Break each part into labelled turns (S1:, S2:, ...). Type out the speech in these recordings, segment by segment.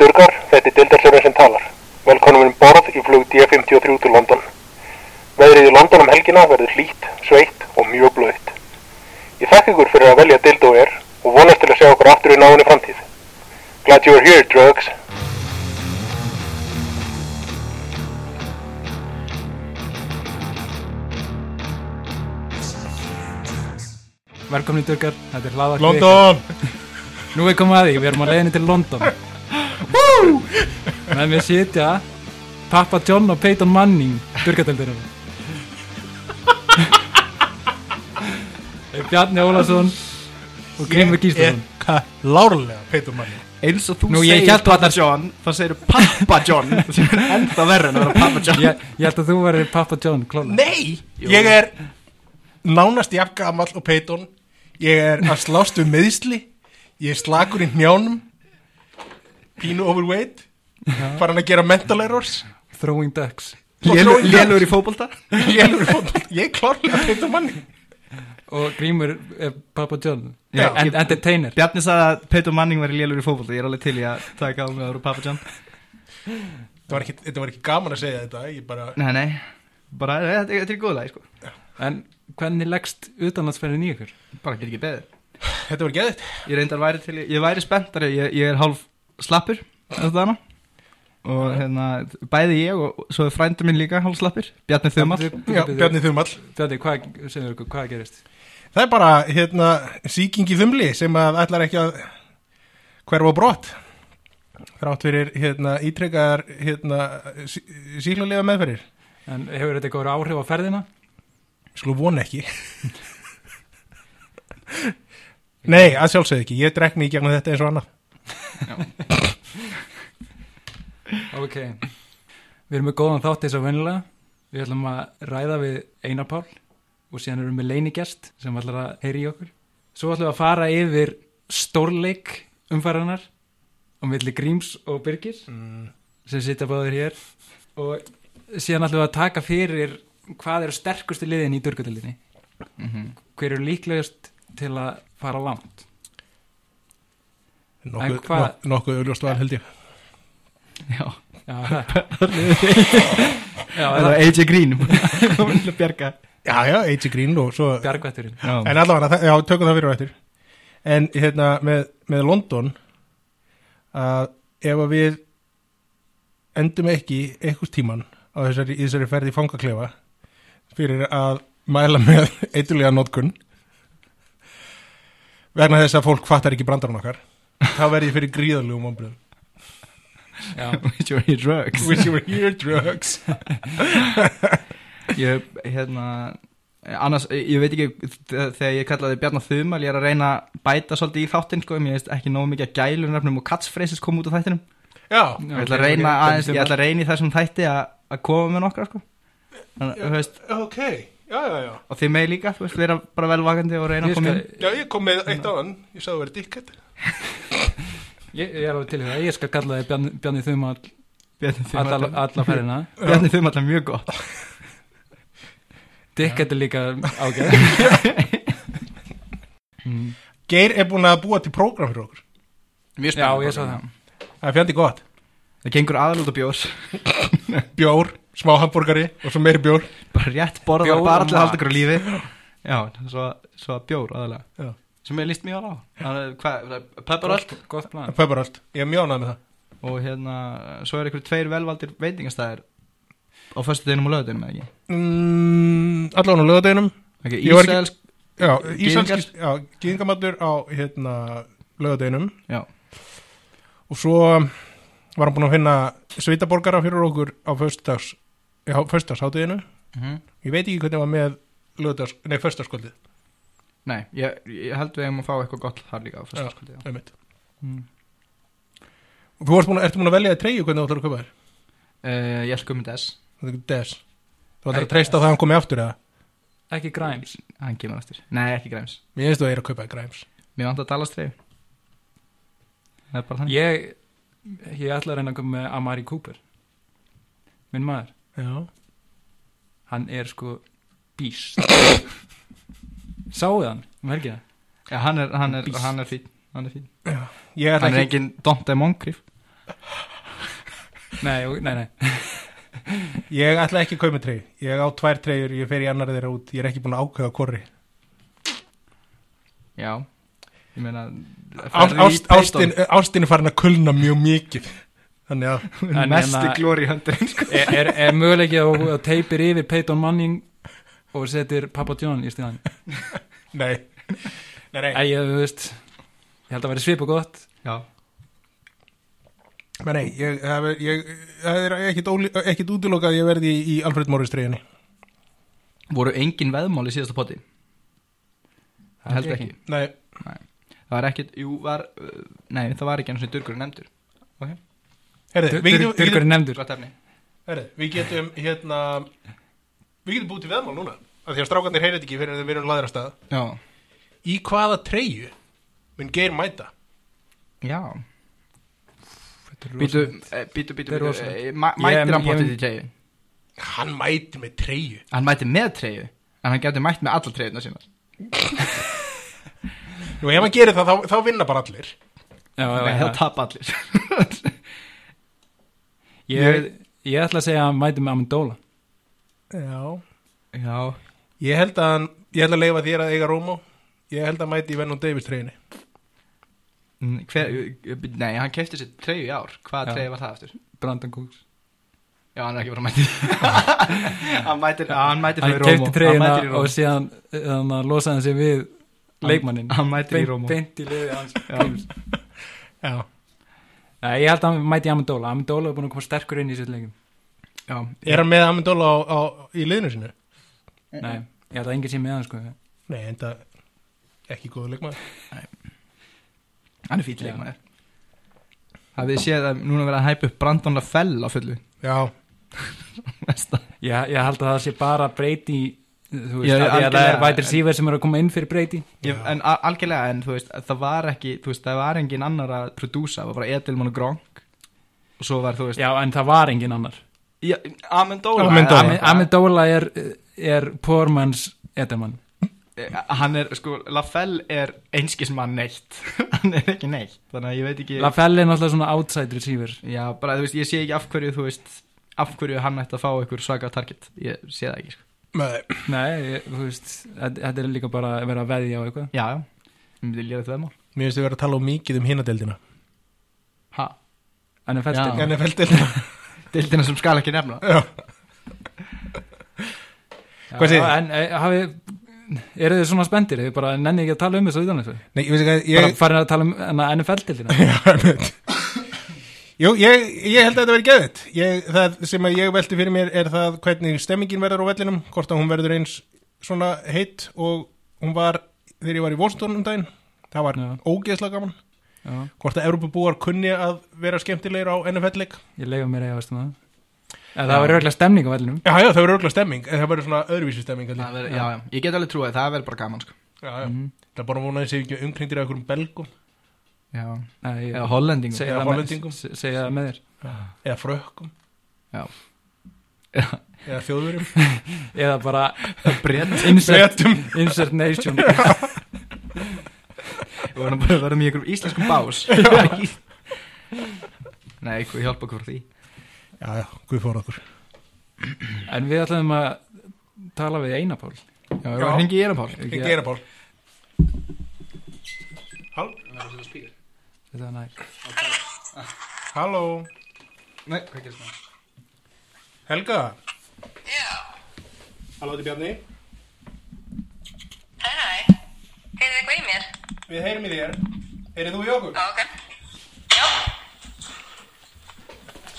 S1: Durgar, þetta er Dildarsjóra sem talar. Velkonum um borð í flug D53 til London. Veðrið í London um helgina verður hlýtt, sveitt og mjög blöitt. Ég þakka ykkur fyrir að velja Dild og er og vonast til að sjá okkur aftur í náinni framtíð. Glad you are here, drugs.
S2: Velkomin í Durgar, þetta er hlaðvarpið.
S3: London!
S2: Nú er komið að því, við erum á leiðinni til London. Með mér sitja Papa John og Peyton Manning, Durgardeldurinn. Bjarni Ólason og Grímur Gíslason.
S3: Lárlega, Peyton Manning.
S4: eins og þú
S2: Nú, ég
S4: segir
S2: hélt
S4: Papa
S2: varla-
S4: John þá segir Papa John sem er enda verður en að vera Papa John
S2: Ég, ég held að þú verður Papa John, klála.
S4: Nei! Jú.
S3: Ég er nánast jafngamall og Peyton. Ég er að slást um meðsli. Ég er slakur í njánum. Pínu overweight. Farin að gera mental errors.
S2: Throwing Ducks.
S4: Lélur- Lélur í fótbolta
S3: Ég er, ég er klárlega Peyton Manning.
S2: Og Grímur er Papa John.
S4: Já.
S2: En, entertainer.
S4: Bjarni sagði að Peyton Manning væri lélur í fótbolta Ég er alveg til í að taka á mig að vera Papa John
S3: Þetta var, ekki, þetta var ekki gaman að segja þetta. Ég bara...
S4: Nei, nei Bara, nei, þetta er- þetta er góðlega, sko
S2: En hvernig leggst utanlandsferðin í ykkur?
S4: Bara get ekki beðið
S3: Þetta var geðið.
S4: Ég reyndar væri til, í- ég væri spenntari Ég, ég er hálf slappur Þetta þarna Og hérna, bæði ég og og svo er frændur minn líka hálf slappur Bjarni Þumall
S3: Já, Bjarni Þumall.
S2: Bjarni, hvað, segðu okkur, hvað gerist?
S3: Það er bara hérna, sýking í þumli sem að ætlar ekki að hverfa á brott þrátt fyrir hérna, ítrekkaðar hérna, sí- síklalyfja meðferðir
S2: En hefur þetta eitthvað áhrif á ferðina?
S3: Slu Sko, vona ekki Nei, að sjálfsögðu ekki Ég drekni í gegnum þetta eins og annað
S2: Ok, við erum með góðan þátt eins og vennilega. Við ætlum að ræða við Einar Pál og síðan erum við leinigest sem ætlar að heyri í okkur. Svo ætlum við að fara yfir stórleik umfæranar á milli Gríms og Birgir sem sitja báður hér og síðan ætlum við að taka fyrir hvað eru sterkustu liðin í durgatöldinni.
S4: Mhm.
S2: Hver eru líklegust til að fara langt? En
S3: Nokkuð,
S2: hvað-
S3: nok- nokkuð augljóst val held ég
S4: Já,
S2: Já, það Já,
S4: það
S2: það
S4: var AJ Green Komin til að bjarga
S3: Já, já, AJ Green og svo
S2: bjargvætturinn.
S4: Já.
S3: En allavega, það- já, tökum það fyrir og eftir En hérna, með, með London að ef að við endum ekki einhvers tíman á þessari, í þessari ferð í fangaklefa fyrir að mæla með eitthulega notkun vegna þess að fólk fattar ekki brandarun okkar þá verð ég fyrir gríðarlegum ombröðum
S2: Já,
S4: With your drugs
S3: Wish you were here drugs
S4: Ég, hérna Annars, ég veit ekki, þegar ég kallaði Bjarnar Þumal, ég er að reyna að bæta svolítið í þáttinn, sko, mér veist ekki nógu mikið að gælur nefnum og katsfreysis koma út á þættinum
S3: Já,
S4: ég ætla að reyna aðeins, ég ætla að reyna í þessum þætti að að koma með nokkra, sko þannig, þú veist,
S3: ok, já, já, já
S4: og þið með líka, þú veist, vera bara velvakandi og reyna
S2: Ég
S4: að koma
S2: skal,
S4: inn
S3: Já, ég kom með eitt áðan, ég sagði að vera dikkett
S2: ég, ég er alveg til í það, ég skal kalla þig Bjarni, Bjarni Þumal
S4: Bjarni
S2: alla,
S4: Þumal,
S2: alla færina
S4: Bjarni Þumal er mjög gott
S2: Dick þetta er líka ágæð mm.
S3: Geir er búin að búa til prógram fyrir okkur
S4: Mjög
S2: Já, ég sá það
S3: Það er fjandi gott.
S4: Það gengur aðlúta bjór,
S3: Bjór, smá hambúrgari og svo meiri bjór.
S4: bara rétt borðar,
S2: Bjór
S4: bara
S2: og
S4: allir halda
S2: mat.
S4: ykkur á lífi Já, svo, svo bjór aðalega
S3: Já.
S4: sem ég líst mjög alveg á Það er- hvað- Pepperöl
S2: Gott- Gott plan
S3: Það pöpar allt. Ég er mjög ánað með það.
S4: og hérna, svo er ykkur tveir velvaldir veitingastæðir á föstudeginum og löðudeginum, eða ekki?
S3: Mm, allan á lögadeginum.
S4: Okay,
S3: Ég var ekki-
S4: Ísraelsk,
S3: Já,
S4: Gyðingar.
S3: íslenskist, já, gýðingamatur á hérna, lögadeginum.
S4: Já.
S3: Og svo var hann búin að finna sveitaborgara fyrir okkur á föstudags, á föstudagsháttuðinu.
S4: Mhm.
S3: Ég veit ekki hvernig hann var með lögadags, nei, föstudagskvöldið.
S4: Nei, ég, ég held við eigum að fá eitthvað gott þar líka á föstudeginum
S3: Það er mitt.
S2: Mm.
S3: Og þú varst búin að, ertu búin að velja að treyju hvernig þú ætlar að kaupa þér?
S4: uh, Ég ætlum með þess,
S3: Það er ekki des. Þú ætlar
S2: Nei,
S3: að treysta á það að hann komi aftur eða?
S2: Ekki Grimes
S4: hann kemur aftur Nei, ekki græms,
S3: Mér finnst þú að er að kaupa þér græms.
S4: mér vant að tala streyf Það er bara þannig
S2: Ég, ég ætla að reyna að koma með Amari Cooper Minn maður,
S3: Já.
S2: hann er sko býst Sáuð hann, um helgina
S4: Já, hann er, hann er,
S2: Beast.
S4: hann er fín Hann er, fín.
S3: Ég ætla
S4: Hann er
S3: ekki
S4: engin Dante Moncrief
S2: Nei, og- nei, nei
S3: Ég ætla ekki að kaupa treyju. Ég á tvær treyjur, ég fer í annar þeirra út, ég er ekki búin að ákveða korri.
S4: Já, ég meina
S3: Ást,
S4: ferðu í
S3: ást,
S4: Python,
S3: ástin, ástin er farin að kulna mjög mikið. Þannig að,
S2: En
S4: Mesti
S2: hérna-
S4: glóri höndurinn sko.
S2: Er, er, er möguleiki að þú teipir yfir Peyton Manning og setir Papa John í stíðan
S3: nei, nei, nei,
S2: Æ, ég, þú veist Ég held að vera svipa gott
S4: Já,
S3: Men nei ég, það er- ég, það er ekkit, óli- ekkit útilokað að ég verði í, í Alfred Morris treyjunni.
S4: voru engin veðmál í síðasta poti
S2: Það
S4: Held
S2: er
S4: ekki
S3: Nei,
S4: Það var ekkit, jú, var uh, Nei, það var ekki eins og durgur nefndur
S3: herði, við getum,
S2: Durgur
S3: við
S2: er
S3: getum,
S2: nefndur
S4: Gott efni
S3: herði, við getum, hérna, við getum búið til veðmál núna. Af því að strákarnir heyrið ekki fyrir að við erum laðra stað.
S4: Já
S3: Í hvaða treyju mun Geir mæta?
S4: Já
S2: Þetta er
S4: Býtu,
S2: rosalegt.
S4: eh, býtu, býtu,
S2: Þetta er
S4: býtu
S2: rosalegt.
S4: eh, ma- Mætir
S2: Ég-
S4: hann potið
S2: ég-
S4: í treyju
S3: Hann mæti með treyju.
S4: Hann mætir með treyju En hann getur mætt með alla treyjuna sína
S3: Nú, ef hann gerir það, þá, þá vinna bara allir.
S2: Já, já,
S4: Nei,
S2: já.
S4: það tap allir
S2: Ég, ég ætla að segja að hann mæti með Amendóla
S3: Já.
S4: Já
S3: Ég held að, hann- ég held að leifa þér að eiga Rómó. Ég held að hann mæti í Venom Davis treyjunni.
S4: Mm, Hver, eh, nei, hann kefti sér treyju í ár Hvaða
S2: Já.
S4: treyju var það eftir?
S2: Brandon Cooks
S4: Já, hann er ekki bara mættir Hann mættir, hann mættir
S2: Hann hérna
S4: fyrir Rómó
S2: kefti treyjuna
S4: mætir í Rómó.
S2: og síðan þannig að losa hann sig við leikmannin
S4: Hann mættir í Rómó
S2: beint í liði hans
S4: Já.
S2: Cooks.
S3: Já.
S2: Nei, ég held að hann mæti Amendóla Amendóla er búin að koma sterkur inn í sér leikum
S4: Já,
S3: Er hann með Amendola á, á, í liðinu sinu?
S2: Nei, ég held að enginn sé með hann sko
S3: Nei, enda ekki góðu leikmaður.
S4: hann er fýll
S2: Já.
S4: leikmaður Það við séð að núna verið að hæpa upp Brandon LaFell á fullu
S3: Já.
S4: Næsta.
S2: Ég, ég held að það sé bara breyti þú veist,
S4: Já,
S2: já, að, að það
S4: algjörlega.
S2: er vætir síver sem er að koma inn fyrir breyti
S4: Ég, en a- algjörlega, en þú veist, það var ekki þú veist, það var engin annar að prodúsa það var bara Edelman og Gronk og svo var, þú veist,
S2: Já, en það var engin annar
S4: já, Amendola
S3: Amendola.
S4: Ame- Ame-
S2: Amidóla er, er pormanns edamann
S4: Hann er, sko, LaFell er einskismann neitt hann er ekki neitt, þannig að ég veit ekki
S2: Lafell er náttúrulega svona outside receiver
S4: Já, bara, þú veist, ég sé ekki af hverju, þú veist af hverju hann ætti að fá einhver svaka target ég sé það ekki, sko.
S3: Nei.
S2: Nei, ég- þú veist, þetta þetta er líka bara að vera að veðja á eitthvað
S4: Já, já, ég myndi lýra þetta veðmál
S3: Mér finnst þið verið að tala um mikið um hinadeldina.
S4: Ha,
S2: En er
S4: Já.
S2: fæltir
S3: NFL-deldina.
S4: deildina sem skal ekki nefna
S3: Hvað segir þið?
S2: En e, hafi, eru þið svona spendir? Þið bara nenni ekki að tala um þessu utanlega
S3: Nei, ég veist ekki að
S2: Bara
S3: ég...
S2: farin að tala um enna NFL-dildina
S3: Já, einmitt. Jú, ég, ég held að þetta verið geðið. Ég, það sem að ég velti fyrir mér er það hvernig stemmingin verður á vellinum, hvort að hún verður eins svona heitt og hún var, þegar ég var í Washington um daginn, það var
S2: Já.
S3: ógeðslega gaman.
S2: Já,
S3: Hvort að Evropabúar kunni að vera skemmtilegir á NFL-leik.
S2: ég leifa mér eða veistum það En það var röglega stemning á vellinum
S3: Já, já, það verður örgulega stemming, en það verður svona öðruvísi stemming. held ég.
S4: Það verður- já, já, ég get alveg trúið að það verður bara gaman sko.
S3: Já, já. Það er bara að vona að þessi ekki umkringdir af einhverjum belgum
S4: Já,
S2: Nei, ég-
S4: eða hollendingum
S2: segja
S3: Eða
S2: það
S3: Hollendingum.
S2: með- se- segja það með þér
S3: eða frökkum
S4: Já.
S3: eða þjóðverjum
S2: eða bara
S4: Brett
S2: insert,
S3: Bretum
S2: insert nation
S4: Við varum bara að vera með einhverjum íslenskum bás Nei, hvað hjálpa okkur frá því
S3: Já, já, guð fór okkur
S2: en við ætlum að tala við Einapál
S4: Já,
S3: Já.
S4: já. hringi ég erum pál
S3: Ég gera pál Hall
S2: þetta er nær
S3: Halló
S4: Nei, hvað gerst maður?
S3: Helga Já Halló, þetta er Bjarni
S5: Hæ, hæ. Heyrðu þið eitthvað í mér?
S3: Við heyrim í þér Heyrið þú í okkur?
S5: Já, ok. Já.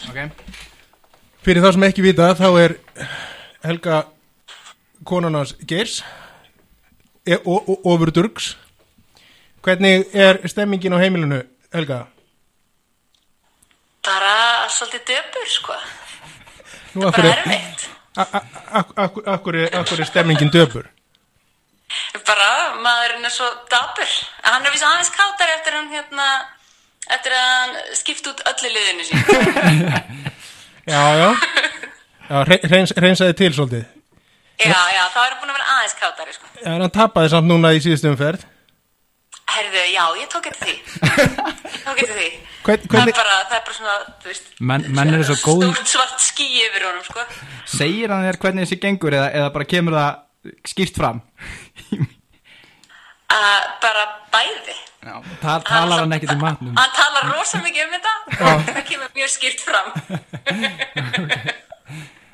S4: Ok,
S3: Fyrir þá sem ekki vita, þá er Helga konan hans Geirs e og, og ofur Durgs Hvernig er stemmingin á heimilinu, Helga?
S5: Bara svolítið döpur, sko.
S3: Nú, af
S5: Bara
S3: hverju-
S5: erfitt.
S3: Akkur er, akkur er stemmingin döpur
S5: Bara maðurinn er svo dapur. Hann er víst aðeins káttar eftir hann hérna, eftir að hann skipt út öllu liðinu sín.
S3: Já, já Já, hre- hreins, reynsaði til svolítið
S5: já, já, þá er hann búin að vera aðeins káttari, sko.
S3: En hann tapaði samt núna í síðustu umferð
S5: herðu, já, ég tók eftir því ég tók eftir því
S3: Hvern,
S5: það er
S3: hvernig,
S5: bara, það er bara svona, þú veist
S2: menn, menn eru svo góð
S5: stórt svart ský yfir honum, sko
S4: Segir hann þér hvernig þessi gengur eða, eða bara kemur það skýrt fram
S5: að bara bæði
S4: Já,
S2: Ta- talar hann ekkert í matnum
S5: hann talar rosa mikið um þetta og það kemur mjög skýrt fram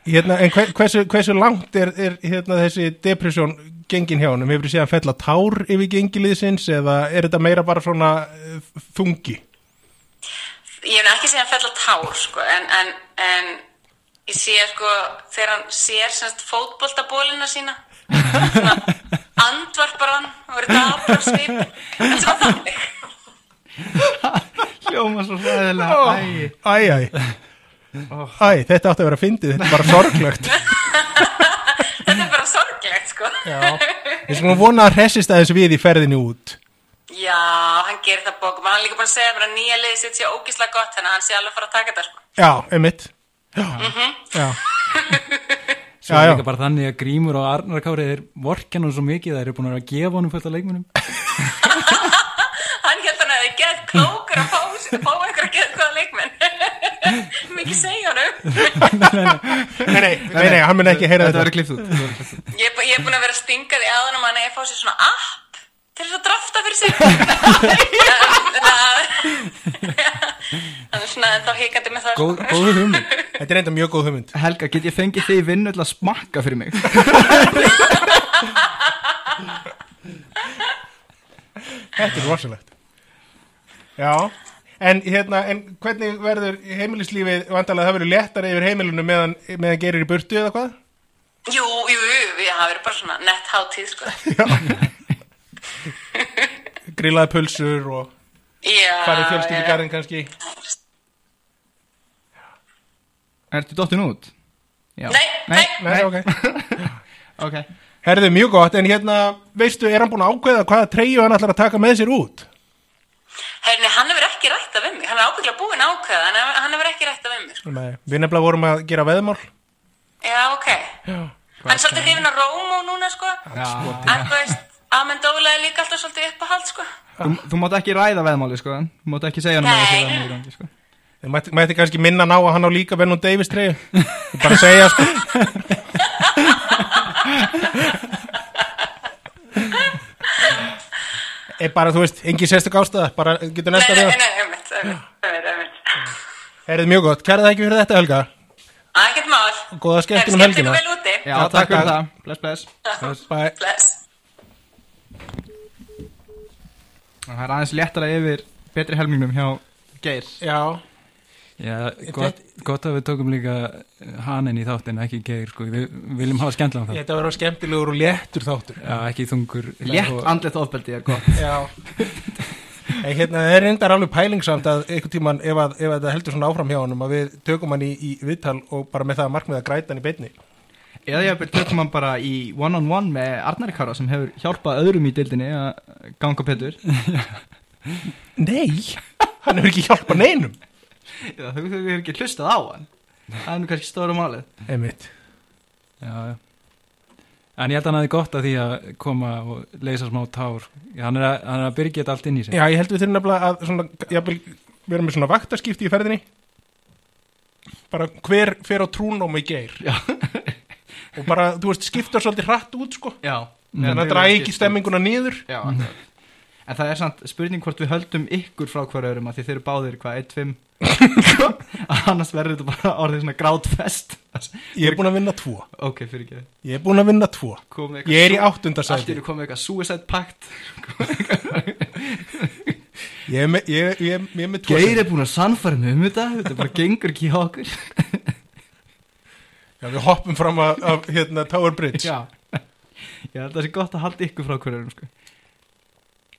S3: hérna, en hver, hversu, hversu langt er, er hérna, þessi depresjón gengin hjá honum? Hefur þið séð að fella tár yfir gengiliðsins eða er þetta meira bara svona eh, þungi?
S5: ég hef nú ekki séð hann fella tár sko, en, en, en ég sé sko þegar hann sér semst fótboltabólina sína svona andvarpar hann og verður dapur svip en sem var þannig
S4: hljóma svo sæðilega Æ,
S3: Æ, æ, æ, þetta átti að vera fyndið, þetta er bara sorglögt.
S5: þetta er bara sorglegt sko
S3: Ég skulum vona að hressist aðeins við í ferðinni út.
S5: já, hann gerir það bókum hann er líka búin að segja mér að nýja liðið sitt sé ógislega gott þannig að hann sé alveg að fara að taka þetta sko.
S3: Já, emitt. Já, já.
S2: Svo er
S3: já.
S2: líka bara þannig að Grímur og Arnar Kári þeir vorkenna hann svo mikið, þeir eru búin að vera að gefa honum fullt af leikmunum
S5: hann held hann að þið geð klókur að fá, fá einhverja geð hvaða leikmenn mikið segja honum
S3: Nei, nei, nei, nei, hann mun ekki heyra þetta.
S4: þetta verður klift út þetta verður klippt út.
S5: Ég, er bú- ég er búin að vera að stinga því aðan um hann að ég fá sér svona app til þess að drafta fyrir sig Þannig svona en þá hikandi með það sko.
S2: Góð, góðu hugmynd
S3: Þetta er enda mjög góð hugmynd.
S4: Helga, get ég fengið þig í vinnu til að smakka fyrir mig?
S3: Þetta er rosalegt. Já, en hérna, en hvernig verður heimilislífið, vandalega það verður léttara yfir heimilinu meðan, meðan gerir í burtu eða hvað?
S5: Jú, jú, jú, við hafa verið bara svona nett hátíð sko
S3: Grillaði pulsur og
S5: Já,
S3: farið fjölskyldi
S5: Ah, já.
S3: garðin kannski.
S4: Ertu dottin út? Já.
S5: Nei, nei,
S3: Nei, ok.
S4: Ok.
S3: Herðu, mjög gott, en hérna, veistu, er hann búin að ákveða hvaða treyju hann ætlar að taka með sér út?
S5: Herni, hann hefur ekki rætta við mig, hann er ábyggla búinn að ákveða, hann hefur- hann hefur ekki rætta við mig sko.
S3: Nei, við nefnilega vorum að gera veðmál.
S5: Já, ok,
S3: Já.
S5: hann er svolítið hrifin að Rómó núna sko
S4: Já.
S5: En þú veist, Amendola er líka alltaf svolítið uppahald sko
S4: Þú, þú mátt ekki ræða veðmáli, sko. Þú mátt ekki segja hann að
S5: Nei.
S4: þessi veðmáli gangi, sko.
S3: Þið mætti, mætti kannski minna hann á að hann á líka Benno Davis treyju. Ég bara segja, sko. Ég bara, þú veist, engin sérstök ástæða, bara getur
S5: Nei,
S3: næsta
S5: nei,
S3: reyða.
S5: nei, einmitt, einmitt, einmitt, einmitt.
S3: Herðið mjög gott, kærið ekki fyrir þetta, Helga.
S5: Ekkert mál.
S3: Góða skemmtun um
S5: Herra, skemmtun
S3: helgina.
S5: vel úti.
S4: Já,
S3: Já, takk
S4: takk fyrir
S3: að-
S4: það. Bless, bless.
S3: Bye.
S5: Bless.
S4: Það er aðeins léttara yfir betri helmingnum hjá Geir.
S3: Já,
S2: Já, gott, gott að við tókum líka hanin í þáttin, ekki geir sko. við viljum hafa skemmtilega um það
S3: þetta verður skemmtilegur og léttur þáttur.
S2: Já, ekki þungur
S4: Létt
S2: og-
S4: andlið þóðbeldi er gott.
S3: Já. En hérna, það er reyndar alveg pælingsamt að einhvern tíman, ef, að, ef þetta heldur svona áfram hjá honum, að við tökum hann í, í viðtal og bara með það að markmið að græta hann í beinni.
S4: Eða ég hafði tökum hann bara í one-on-one með Arnari Kára sem hefur hjálpað öðrum í dildinni að ganga betur.
S3: Nei, hann hefur ekki hjálpað neinum.
S4: Já, þau þau hefur ekki hlustað á hann. Það er nú kannski stóra málið.
S3: Einmitt.
S2: já, já. En ég held að hann aðeins gott að því að koma og leysa smá tár Já, hann, er að, hann er að byrgja þetta allt inn í sig
S3: Já, ég held við þurfum nefnilega að svona, jafnvel, við erum með svona vaktaskipti í ferðinni. Bara hver fer á trúnum í geir.
S4: Já.
S3: og bara, þú veist, skiptar svolítið hrætt út, sko.
S4: Já.
S3: En það dragi ekki stemminguna niður.
S4: Já, akkurat. en það er samt spurning hvort við höldum ykkur frá hverju öðrum að því þeir eru báðir hvað, 1-5 annars verður þetta bara orðið svona grátfest
S3: Ég er búin að vinna tvo.
S4: ok, fyrir ekki
S3: Ég er búin að vinna tvo.
S4: komið
S3: Ég er í
S4: allt
S3: áttundasæti.
S4: eru komið eitthvað suicide pact
S3: Ég er með, ég, ég, ég, ég er með tvo.
S4: Geir er búin að sannfæra mig um þetta þetta bara gengur ekki hjá okkur
S3: Já, við hoppum fram af, af hérna, Tower Bridge.
S4: ég held að það sé gott að halda ykkur frá hverju öðrum sko.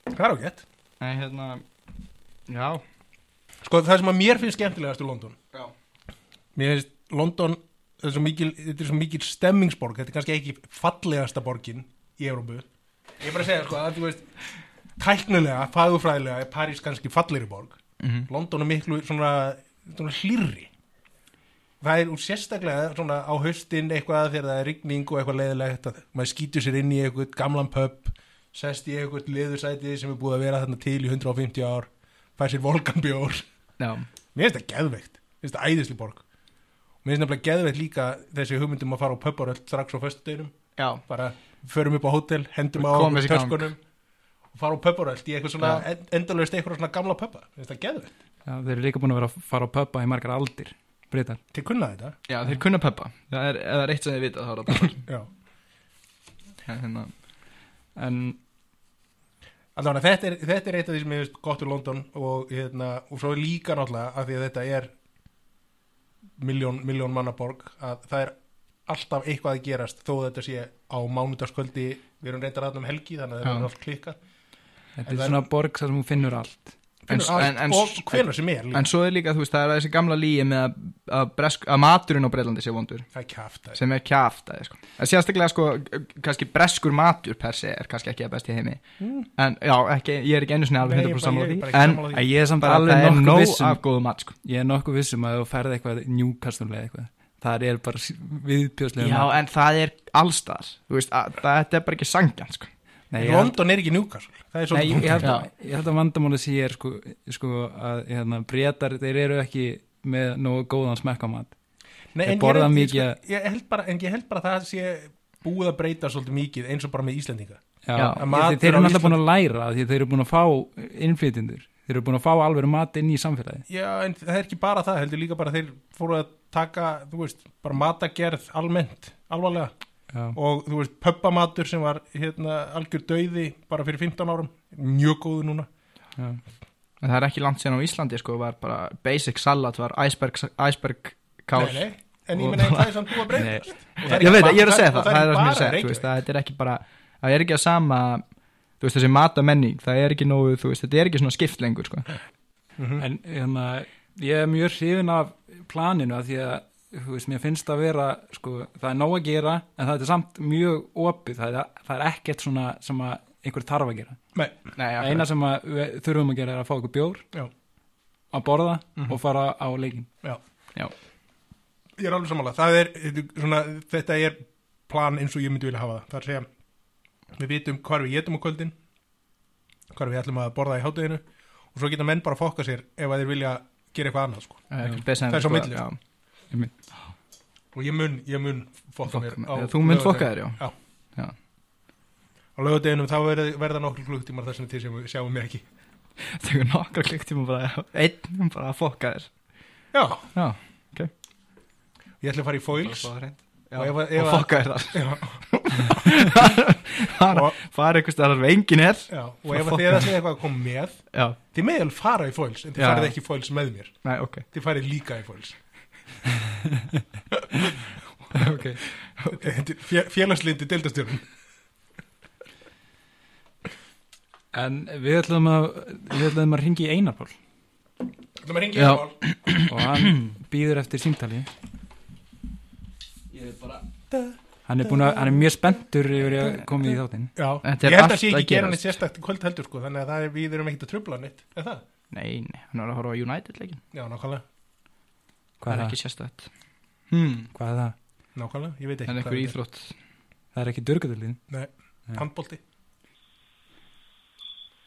S3: Það er ágætt.
S4: en hérna já,
S3: Sko, það sem að mér finnst skemmtilegast í London.
S4: já.
S3: Mér finnst London, þetta er svo mikil, þetta er svo mikil stemmingsborg, þetta er kannski ekki fallegasta borgin í Európu. Ég er bara að segja, sko, að þú veist, tæknilega, fagufræðilega er París kannski fallegri borg. London er miklu svona, svona hlýrri. Það er úr sérstaklega svona á haustin eitthvað þegar það er rigning og eitthvað leiðilegt að maður skýtur sér inn í eitthvað gamlan pub, sest í eitthvað liðursæti sem er búið að vera þarna til í 150 ár fær sér volkanbjór
S4: Já,
S3: Mér finnst það geðveikt, mér finnst það æðisli borg Mér finnst nefnilega geðveikt líka þessi hugmyndum að fara á pöpparöld strax á föstudeginum
S4: já,
S3: bara förum upp á hótel, hendum á
S4: Komum þessi í gang.
S3: töskunum og fara á pöpparöld í eitthvað svona ja. endalaust eitthvað svona gamla pöppa Mér finnst það geðveikt,
S2: Já, þeir eru líka búin að vera að fara á pöppa í margar aldir, breytar.
S3: til kunna þetta
S4: já þeir kunna peppa Það er, ef það er eitt sem þið vita þá er það peppar
S3: Já,
S4: Já, hérna.
S2: En
S3: allavega þetta er, þetta er eitt af því sem ég finnst gott úr London og, hérna, og svo líka náttúrulega af því að þetta er miljón, miljón manna borg að það er alltaf eitthvað að gerast þó þetta sé á mánudagskvöldi við erum reyndar aðna um helgi þannig að það
S4: Já.
S3: er allt klikkað
S2: þetta
S3: En
S2: er
S3: það er-
S2: svona borg þar sem hún finnur allt.
S4: En-
S3: Finnur allt
S4: en- en-
S3: og hvenær sem er líka.
S4: En svo er líka, þú veist, það er þessi gamla líi með að, að, bresk, að maturinn á Breitlandi sé vondur
S3: það er kæft
S4: sem er kjæft aðeins sko. en sérstaklega sko, kannski breskur matur per se er kannski ekki að besti í heimi en já, ekki, ég er ekki einu sinni
S3: Hmm. Nei, ég
S4: alveg
S3: er bara-
S4: 100%
S3: ég er
S4: sammála því
S3: bara ekki
S4: en
S3: sammála því.
S2: Að ég er samt
S4: bara
S2: alveg
S4: það er
S2: nokkuð
S4: nóg
S2: vissum,
S4: af góðu mat sko.
S2: ég er nokkuð vissum að þú ferði eitthvað njúkastumlega eitthvað. Það er bara s- viðbjóðslega.
S4: já,
S2: mat.
S4: en það er allstar veist, að, það, þetta er bara ekki sangjan sko.
S2: Nei, ég held-
S3: London er ekki Newcastle það er
S2: Nei,
S3: svolítið
S2: ég, ég,
S3: punkt.
S2: held, að- ég held að vandamáli sé er sko, sko að hérna, breytar, þeir eru ekki með nógu góðan smekkamat.
S3: Nei,
S2: Ég
S3: en
S2: borða
S3: ég,
S2: mikið
S3: mikið ég,
S2: að-
S3: sko, ég held bara, en ég held bara að það sé búið að breyta svolítið mikið eins og bara með Íslendinga
S2: Já,
S4: Já.
S2: þeir,
S3: Matur
S2: þeir eru
S3: á
S2: náttúrulega búin að læra af því að þeir eru búin að fá innflytjendur þeir eru búin að fá alveg mat inn í samfélagi
S3: Já, en það er ekki bara það, heldur líka bara þeir fóru að taka, þú veist, bara matagerð almennt, alvarlega
S2: Já.
S3: og þú veist, pöppamatur sem var hérna, algjör döiði bara fyrir 15 árum mjög góðu núna
S4: en það er ekki langt síðan á Íslandi sko, var bara basic salat var iceberg, iceberg kál
S3: nei, nei, en
S4: Og-
S3: ég meina en það er samt búið að breytast Og það er
S4: ég
S3: ekki
S4: veit,
S3: bara-
S4: ég er að segja það, það
S3: ekki
S4: er það sem ég
S3: bara
S4: segja þú
S3: Reykjavík.
S4: veist, það þetta er ekki bara það er ekki að sama þú veist, þessi matamenning, það er ekki nógu þú veist, þetta er ekki svona skipt lengur sko.
S2: en hérna, ég er mjög hrifin af planinu af því að þú veist, mér finnst að vera sko, það er nóg að gera en það er samt mjög opið það er, það er ekkert svona sem að einhver þarf að gera
S3: Nei,
S2: það
S4: Nei, akkurat.
S2: eina sem að við þurfum að gera er að fá okkur bjór
S3: já,
S2: að borða og fara á leikin
S3: já
S4: Já.
S3: Ég er alveg sammála, það er þetta- svona, þetta er plan eins og ég myndi vilja hafa það, það er að segja við vitum hvar við getum á kvöldin hvar við ætlum að borða í hátæðinu og svo geta menn bara að fokka sér ef að þeir vilja gera eitthvað annað sko.
S4: Það er ekkert betra en
S3: Það er svo
S4: sko,
S3: milli,
S4: já.
S3: og ég mun, ég mun fokka
S4: Fokka
S3: mér
S4: mér.
S3: á
S4: Þú munt
S3: laugardegi-
S4: fokka þér, já.
S3: Já,
S4: Já.
S3: á lögadeginum þá verða, verða nokkur klukkutímar þar sem þið sjáum, sjáum mér ekki
S4: Þegar nokkra klukktíma bara einn bara að fokka þér
S3: Já,
S4: Já,
S3: ég ætla að fara í foils
S4: Bara fá það hreint. Já,
S3: Og ef að- ef
S4: og
S3: að-
S4: fokka þér þar
S3: Já,
S4: Bara
S3: Og-
S4: fara einhvers staðar þar engin er
S3: já, og
S4: Bara
S3: ef að
S4: fokka
S3: þið
S4: þér.
S3: ætlið eitthvað að koma með
S4: Já,
S3: þið meðal fara í foils en þið
S4: Já.
S3: farið ekki í foils með mér
S4: nei, ok
S3: þið farið líka í fóls
S2: okay.
S3: félagslindi deildastjórn
S2: en við ætlum að við ætlum að ringi í Einarpól
S3: það maður ringi
S4: Já.
S3: í
S2: og hann býður eftir símtali ég er bara hann er, búin að, hann er mjög spenntur yfir að koma í þáttinn
S3: það
S4: Þetta er
S3: ég held
S4: allt
S3: að sé
S4: að
S3: ekki gera
S4: gerast.
S3: neitt sérstakt í kvöld heldur sko þannig að það er, við erum ekkert að trubla neitt er það?
S4: Nei, nei, hann var að horfa á United leikin
S3: já, nákvæmlega
S2: hvað
S4: Það
S2: er
S4: er
S2: það?
S4: ekki sérstætt hmm.
S2: Hvað er það?
S3: nákvæmlega, ég veit ekki
S4: Það er
S3: hvað
S4: einhver íþrótt
S2: það er ekki dörgadöldin
S3: Nei, handbólti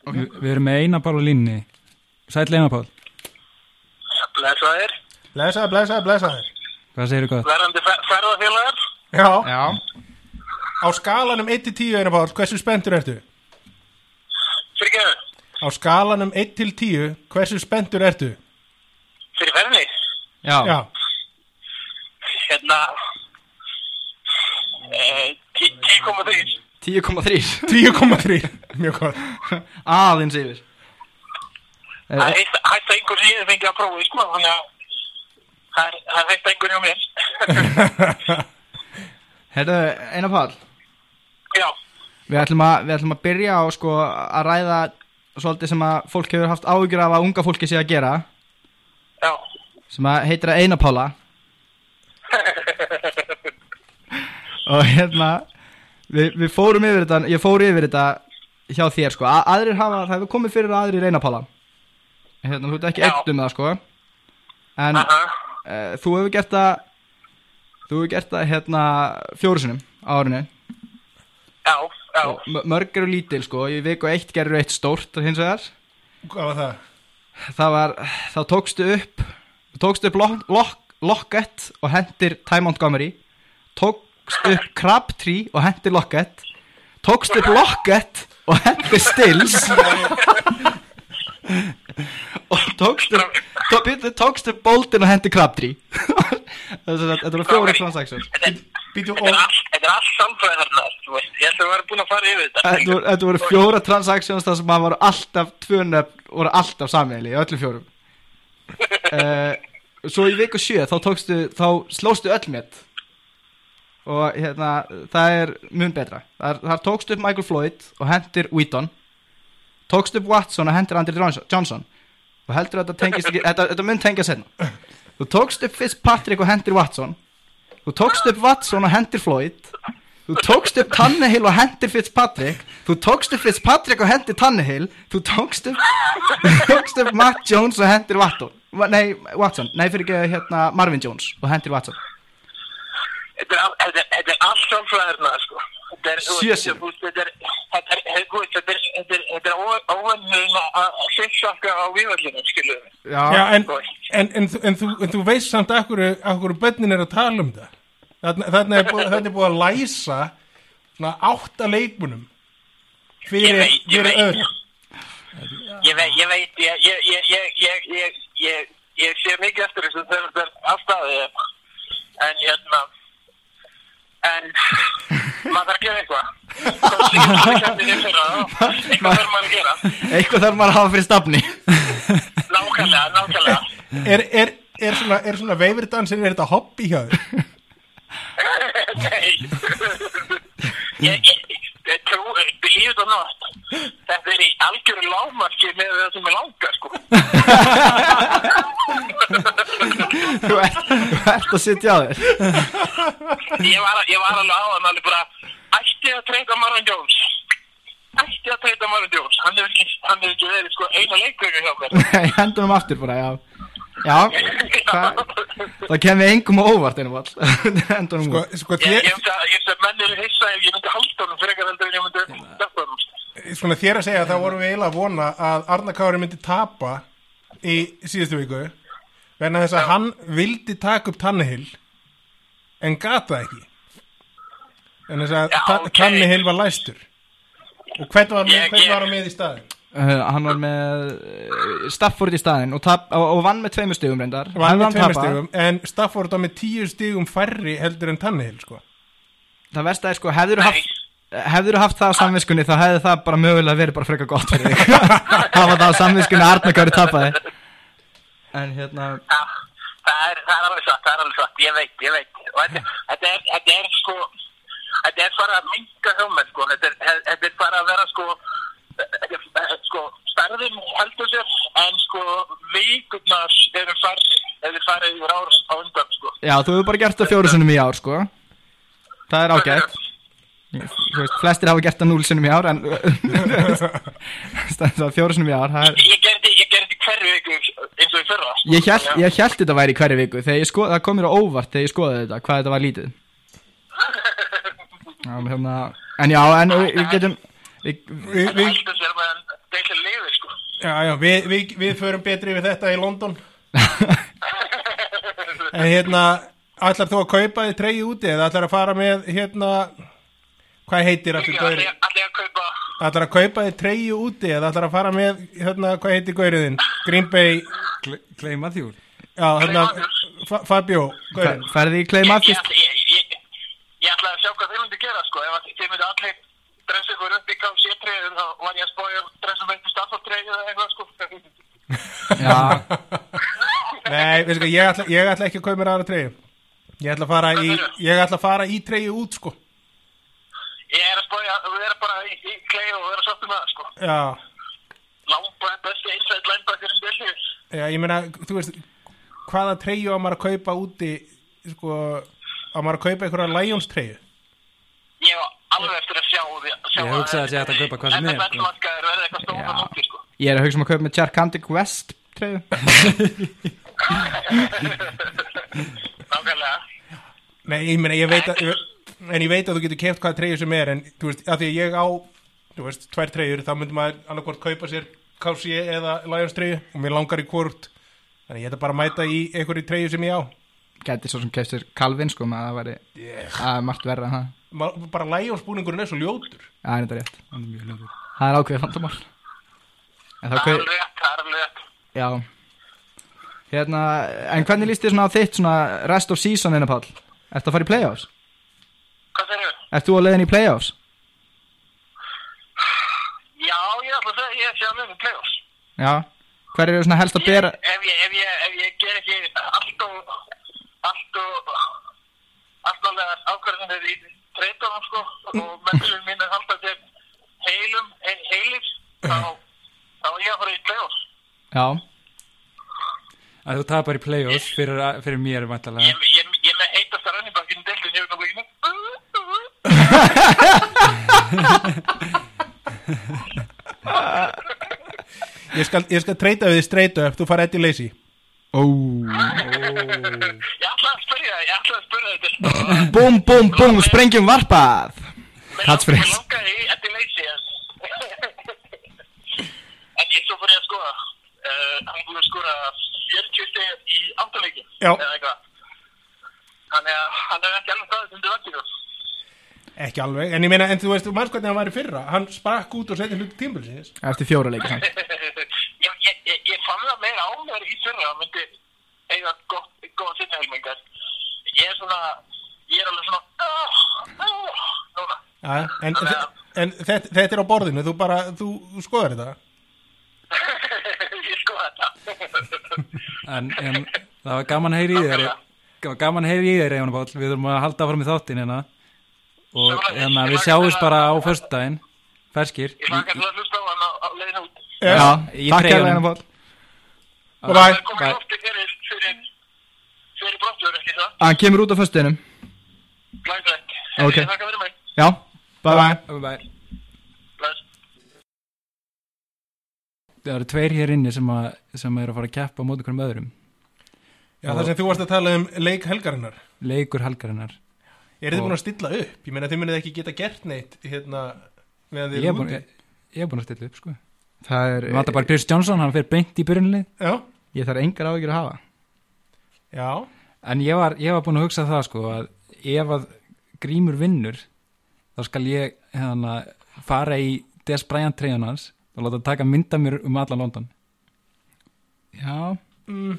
S4: Ok.
S2: Vi, við erum með Einar Pál á línni sæl Einar Pál,
S6: Blesaðir,
S3: blessaður, blessaður, blessaður
S2: hvað segirðu gott?
S6: verðandi fer- ferðafélagar.
S3: já,
S4: Já,
S3: á skalanum 1 til 10 einu pál, hversu spenntur ertu?
S6: Fyrir,
S3: á skalanum 1 til 10 hversu spenntur ertu?
S6: fyrir ferðinni.
S4: já,
S3: já,
S6: Hérna, eh, tí- 10,3.
S4: 10,3
S3: 10,3 mjög gott
S4: Aðeins yfir Eh,
S6: Það er hætt- hætta einhver sem ég hef fengið að prófa, sko, þannig að það er- það er hætta einhver hjá mér.
S4: Herðu, Einar Pál
S6: Já,
S4: Við ætlum, að, við ætlum að byrja á sko að ræða svolítið sem að fólk hefur haft áhyggjur af að unga fólki sé að gera
S6: já,
S4: sem að heitir að Einapála og hérna við, við fórum yfir þetta ég fór yfir þetta hjá þér sko að, aðrir hafa, það hefur komið fyrir að aðrir Einapála hérna, þú ert ekki
S6: Já.
S4: eitt um það sko en
S6: aha,
S4: uh, þú hefur gert það þú hefur gert það hérna fjórusunum á árinu
S6: já, Já.
S4: M- mörg eru lítil sko, í viku eitt gerur eitt stórt og hins vegar
S3: Hvað var það?
S4: það var, þá tókstu upp tókstu upp lock, lock, Lockett og hendir Ty Montgomery tókst upp Crabtree og hendir Lockett tókst upp Lockett og hendir Stills og tókst upp tó, bíddu, tókst upp Bolden og hendir Crabtree Þess að þetta voru fjóri transactions
S6: Þetta er-
S3: Býtu
S6: þetta er
S3: og
S6: allt- þetta er allt samfræðarnar, þú veist, ég ætlum að vera búin að fara yfir þetta.
S4: Þetta voru, þetta voru fjóra transactions þar sem hann var alltaf tvönöfn voru alltaf sammeili í öllum fjórum uh, Svo í viku sjö þá tókstu, þá slóstu öll met og hérna það er mun betra þar, þar tókstu upp Michael Floyd og hendir Wheaton tókstu upp Watson og hendir Andri Johnson- Johnson og heldur að þetta tengist ekki, þetta, þetta mun tengja senna þú tókst upp Fitzpatrick og hendir Watson þú tókst upp Watson og hendir Floyd Þú tókst upp Tannehill og hendir Fitzpatrick Þú tókst upp Fitzpatrick og hendir Tannehill Þú tókst upp Þú tókst upp Matt Jones og hendir Watson Nei, Watson, nei fyrir ekki hérna Marvin Jones og hendir Watson
S6: Þetta er al- þetta er- þetta er allt samfræðarnar, sko. Þetta er, þú
S4: Sjö
S6: veist,
S4: sinnum.
S6: þú veist, þetta er, þetta er, þú veist, þetta er, þetta er, þetta er óvennum að sittsaka á vývallinu, skiljuðu mig.
S3: Já,
S4: Já,
S3: en,
S6: Sko,
S3: en, en, þú- en, þú, en þú veist samt af hverju, af hverju bönnin er að tala um það Þarna, þarna er, búið, þarna er búið að læsa svona átta leikmunum
S6: Ég
S3: fyrir,
S6: veit, ég
S3: fyrir
S6: veit.
S3: öðru
S6: Ég veit, ég veit, ég, ég, ég, ég, ég, ég, ég, ég sé mikið eftir þessu þegar þetta er afstæðið hérna. En hérna, en maður þarf að gera eitthvað. Komst ekki til keppninni í fyrra, þá. Eitthvað þarf maður að gera.
S4: eitthvað þarf maður að hafa fyrir stafni
S6: Nákvæmlega, nákvæmlega.
S3: er, er, er svona, er svona veifirdansin er þetta hobby hjá þér
S6: Nei. Ég, ég, ég trú, believe it or not, þetta er í algjöru lágmarki með það sem ég langar, sko.
S4: Þú ert þú ert að sitja á þér
S6: Ég var, ég var alveg áðan alveg bara ætti að treyta Marvin Jones ætti að treyta Marvin Jones hann hefur ekki, hann hefur ekki verið sko eina leikvöku hjá mér
S4: Nei, Hendunum aftur bara, já Já, það, það kemur engum á óvart einum all Hendunum
S3: sko,
S4: úr
S3: sko,
S6: Ég, ég
S3: þér,
S6: myndi að, ég myndi að menn eru hissa ef ég myndi halda honum frekar heldur en ég myndi steppa honum
S3: svona þér að segja þá vorum við eiginlega að vona að Arna Kári myndi tapa í síðustu viku vegna þess að hann vildi taka upp Tannehill en gata ekki en þess að
S6: Já,
S3: Ta-
S6: ok.
S3: Tannehill var læstur og hvern var,
S6: Ég-
S3: hvern
S6: ég-
S3: var hann með í staðin?
S4: Uh, hann var með uh, Stafford í staðinn og, tap, og, og vann með tveimur stigum reyndar
S3: Hann
S4: Hefði
S3: með tveimur
S4: tapað-
S3: stigum en Stafford var með tíu stigum færri heldur en Tannehill sko
S4: Það verst að sko, hefðurðu haft Hefðurðu haft það á samviskunni þá hefði það bara mögulega verið bara frekar gott fyrir þig Hafa það á samviskunni að Arna Kári tapaði En hérna
S6: Já, það er, það er alveg satt, það er alveg satt, ég veit, ég veit. Og þetta, þetta, er, þetta er sko, þetta er bara að minka hugmenn, sko, þetta er, þetta er bara að vera sko, þetta er, eh, sko, starðin heldur sér, en sko, vikurnar eru farið, eru farið yfir ára á undan, sko.
S4: Já, þú hefur bara gert það fjóru sinnum í ár sko Það er ágætt Þú veist, flestir hafa gert það núl sinnum í ár En Það er fjóru sinnum í ár það er,
S6: Ég gerði, ég gerði hverju viku eins og í fyrra. sko.
S4: Ég held, ég held þetta væri í hverju viku Þegar ég skoði, það kom mér á óvart þegar ég skoði þetta Hvað þetta var lítið Já, hérna En já, en við, við getum við,
S3: Vi,
S6: Þetta
S3: vi,
S6: heldur sér meðan deilin lifir, sko.
S3: já, já, vi, vi, við förum betri við þetta í London en hérna ætlar þú að kaupa þið treyju úti eða ætlar að fara með hérna hvað heitir aftur
S6: Allir
S3: gaurið
S6: allir að kaupa,
S3: ætlar að kaupa þið treyju úti eða ætlar að fara með hérna hvað heitir gaurið þinn Green Bay
S2: Kleima þjúr
S3: já, hérna, Fa- Fabio gaurinn.
S4: Færði í Clay
S6: ég,
S4: Matthews
S6: ég, ég, ég, ég ætla að sjá hvað þeir myndi gera sko ef að þeir myndi allir dressa ykkur upp í KC-treðin þá var ég að spója dressa mig upp í Stafford-treðin eða eitthvað sko
S4: Já,
S3: Nei, veistu hvað, ég ætla, ég ætla ekki að kaupa mér aðra treyju ég ætla að fara í ég ætla að fara í treyju út sko
S6: ég er að spója, við erum bara í, í klei og við erum sáttum með það sko
S3: já,
S6: Lamba, besti einsætt linebacker um delið
S3: já ég meina, þú veist hvaða treyju á maður að kaupa úti sko, á maður að kaupa einhverja Lions treyju
S6: ég var alveg eftir að sjá því sjá
S2: Ég hugsaði að sé hægt að kaupa hvað sem er,
S6: er
S2: sko.
S6: NFL-markaður verði eitthvað stóð á
S4: Já.
S6: nóti sko
S4: ég er að hugsa um að kaupa með Charkantic West treyðu
S6: nákvæmlega
S3: Nei, ég meina, ég veit að ég, en ég veit að þú getur keft hvaða treyju sem er en þú veist, að því að ég á þú veist, tvær treyjur, þá myndi maður annarkvort kaupa sér KC eða Lions treyju og mér langar í hvort þannig ég ætla bara að mæta í einhverju treyju sem ég á
S4: Gæti svo sem keftir Calvin sko með að það væri að margt verra en það
S3: Ma, bara Lions búningurinn er svo ljótur
S4: Það er þetta rétt
S2: Hann er mjög ljóður.
S4: Það er ákveðið vandamál En það
S6: Það er
S4: ákveðið,
S6: alveg, rétt, það er alveg rétt.
S4: já Hérna, en hvernig líst þér svona á þitt svona rest of season hérna Pál? Ertu að fara í playoffs?
S6: Hvað segir þau?
S4: Ert þú að leiðin í playoffs?
S6: Já, ég ætla að segja, ég sé alveg um playoffs.
S4: Já Hver eru svona helst að
S6: Ég,
S4: bera
S6: ef, ég, ef, ég, ef ég ger ekki allt og allt og allt alveg ákvarðanir í treytunum sko og mennum mín er alltaf þeim heilum, he- heilir þá, þá er ég að fara í playoffs
S4: Já,
S2: Að þú tapar í play-offs fyrir, að- fyrir mér vantalega.
S6: ég, ég, ég með heitast að rannibakinn deildin ég veit nokkuð ekki neitt.
S3: ég skal, ég skal treyta við því straight up, þú fara Eddie Lacy
S4: ó
S6: ég ætla að spyrja það, ég ætla að spyrja þetta
S4: Búm, búm, búm, sprengjum varpað Hatsfrið.
S6: Mér langaði í Eddie Lacey en en ég svo fór ég að skoða uh, hann búið að skora 40 steg í áttaleikin
S3: Já.
S6: eða eitthvað þannig að hann er ekki alveg staðið sem þið vantið
S3: ekki alveg, en ég meina, en þú veist, þú manns hvernig hann var í fyrra hann sprakk út og setja hluti tímbilsins
S4: Eftir fjóra leiki samt
S6: ég, ég, ég, ég fann það meira ánver í fyrra hann myndi eiga gott, góða sinni helmingar ég er svona ég er alveg svona "Ah, ah," núna
S3: ja, en, en þetta, þetta er á borðinu þú bara, þú, þú skoðar þetta
S6: ég skoða þetta
S2: En, en það var gaman að heyra í þér. Það var gaman að heyra í þér, Egon Páll. Við þurfum að halda áfram í þáttin hérna. Og hérna, við sjáumst bara á föstudaginn. Ferskir.
S6: ég hérna- fann kannski að hlusta á hann á- á leiðin út
S4: Já,
S2: í
S4: takk
S2: treyjunum.
S4: hérna Pál
S3: bye
S2: Bye.
S3: bye,
S6: Það er ofti fyrir, fyrir, fyrir brottur, ekki það?
S4: Hann kemur út á föstuðinum
S6: Glæsilegt.
S4: Ok.
S6: Ég þakka fyrir mig.
S4: Já, bye bye
S2: Bye bye.
S6: Glæs.
S2: Það eru tveir hér inni sem, að, sem eru að fara að keppa á móti hverjum öðrum.
S3: Já, það sem þú varst að tala um leik helgarinnar
S2: Leikur helgarinnar.
S3: Er þið
S2: Og-
S3: búin að stilla upp? Ég meina þið munið ekki geta gert neitt hérna meðan þið
S2: Ég er
S3: eru
S2: búin,
S3: úti.
S2: ég, ég er búin að stilla upp, sko.
S4: Það er
S2: Við vantar bara Chris Johnson, hann fer beint í byrjunlið.
S3: Já,
S4: Ég þarf engar áhyggjur að hafa
S3: já,
S2: En ég var, ég var búin að hugsa það sko að ef að grímur vinnur þá skal ég hérna, fara í Des Bryant treyjun hans og láta taka mynda mér um alla London
S4: Já,
S3: mér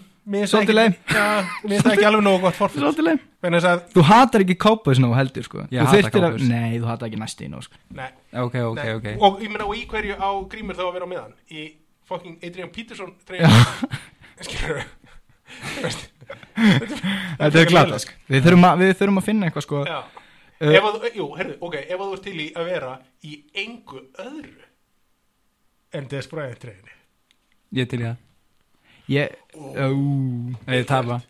S3: finnst það
S4: Svolítið leið.
S3: ekki, já, mér finnst það ekki alveg nógu gott
S4: það er
S3: forfætt
S4: svolítið leið
S3: Þannig að,
S4: Þú hatar ekki Cowboys nú heldur sko
S2: Ég
S4: Þú
S2: hata
S4: þyrftir að-
S2: Cowboys.
S4: Nei, þú hatar ekki næstu í nú sko
S3: nei,
S2: Ok, ok,
S3: nei.
S2: ok
S3: Og ég meina og í hverju á grímur þá að vera á meðan Í fucking Adrian Peterson treyjum Skilur
S4: Þetta er glata sko Við þurfum að, við þurfum að finna eitthvað sko
S3: Já Ef að, jú, herðu, ok, ef að þú ert til í að vera í engu öðru en Des Bryant treyjunni
S2: Ég til í það,
S4: Ég, ó
S2: Ef ég tapa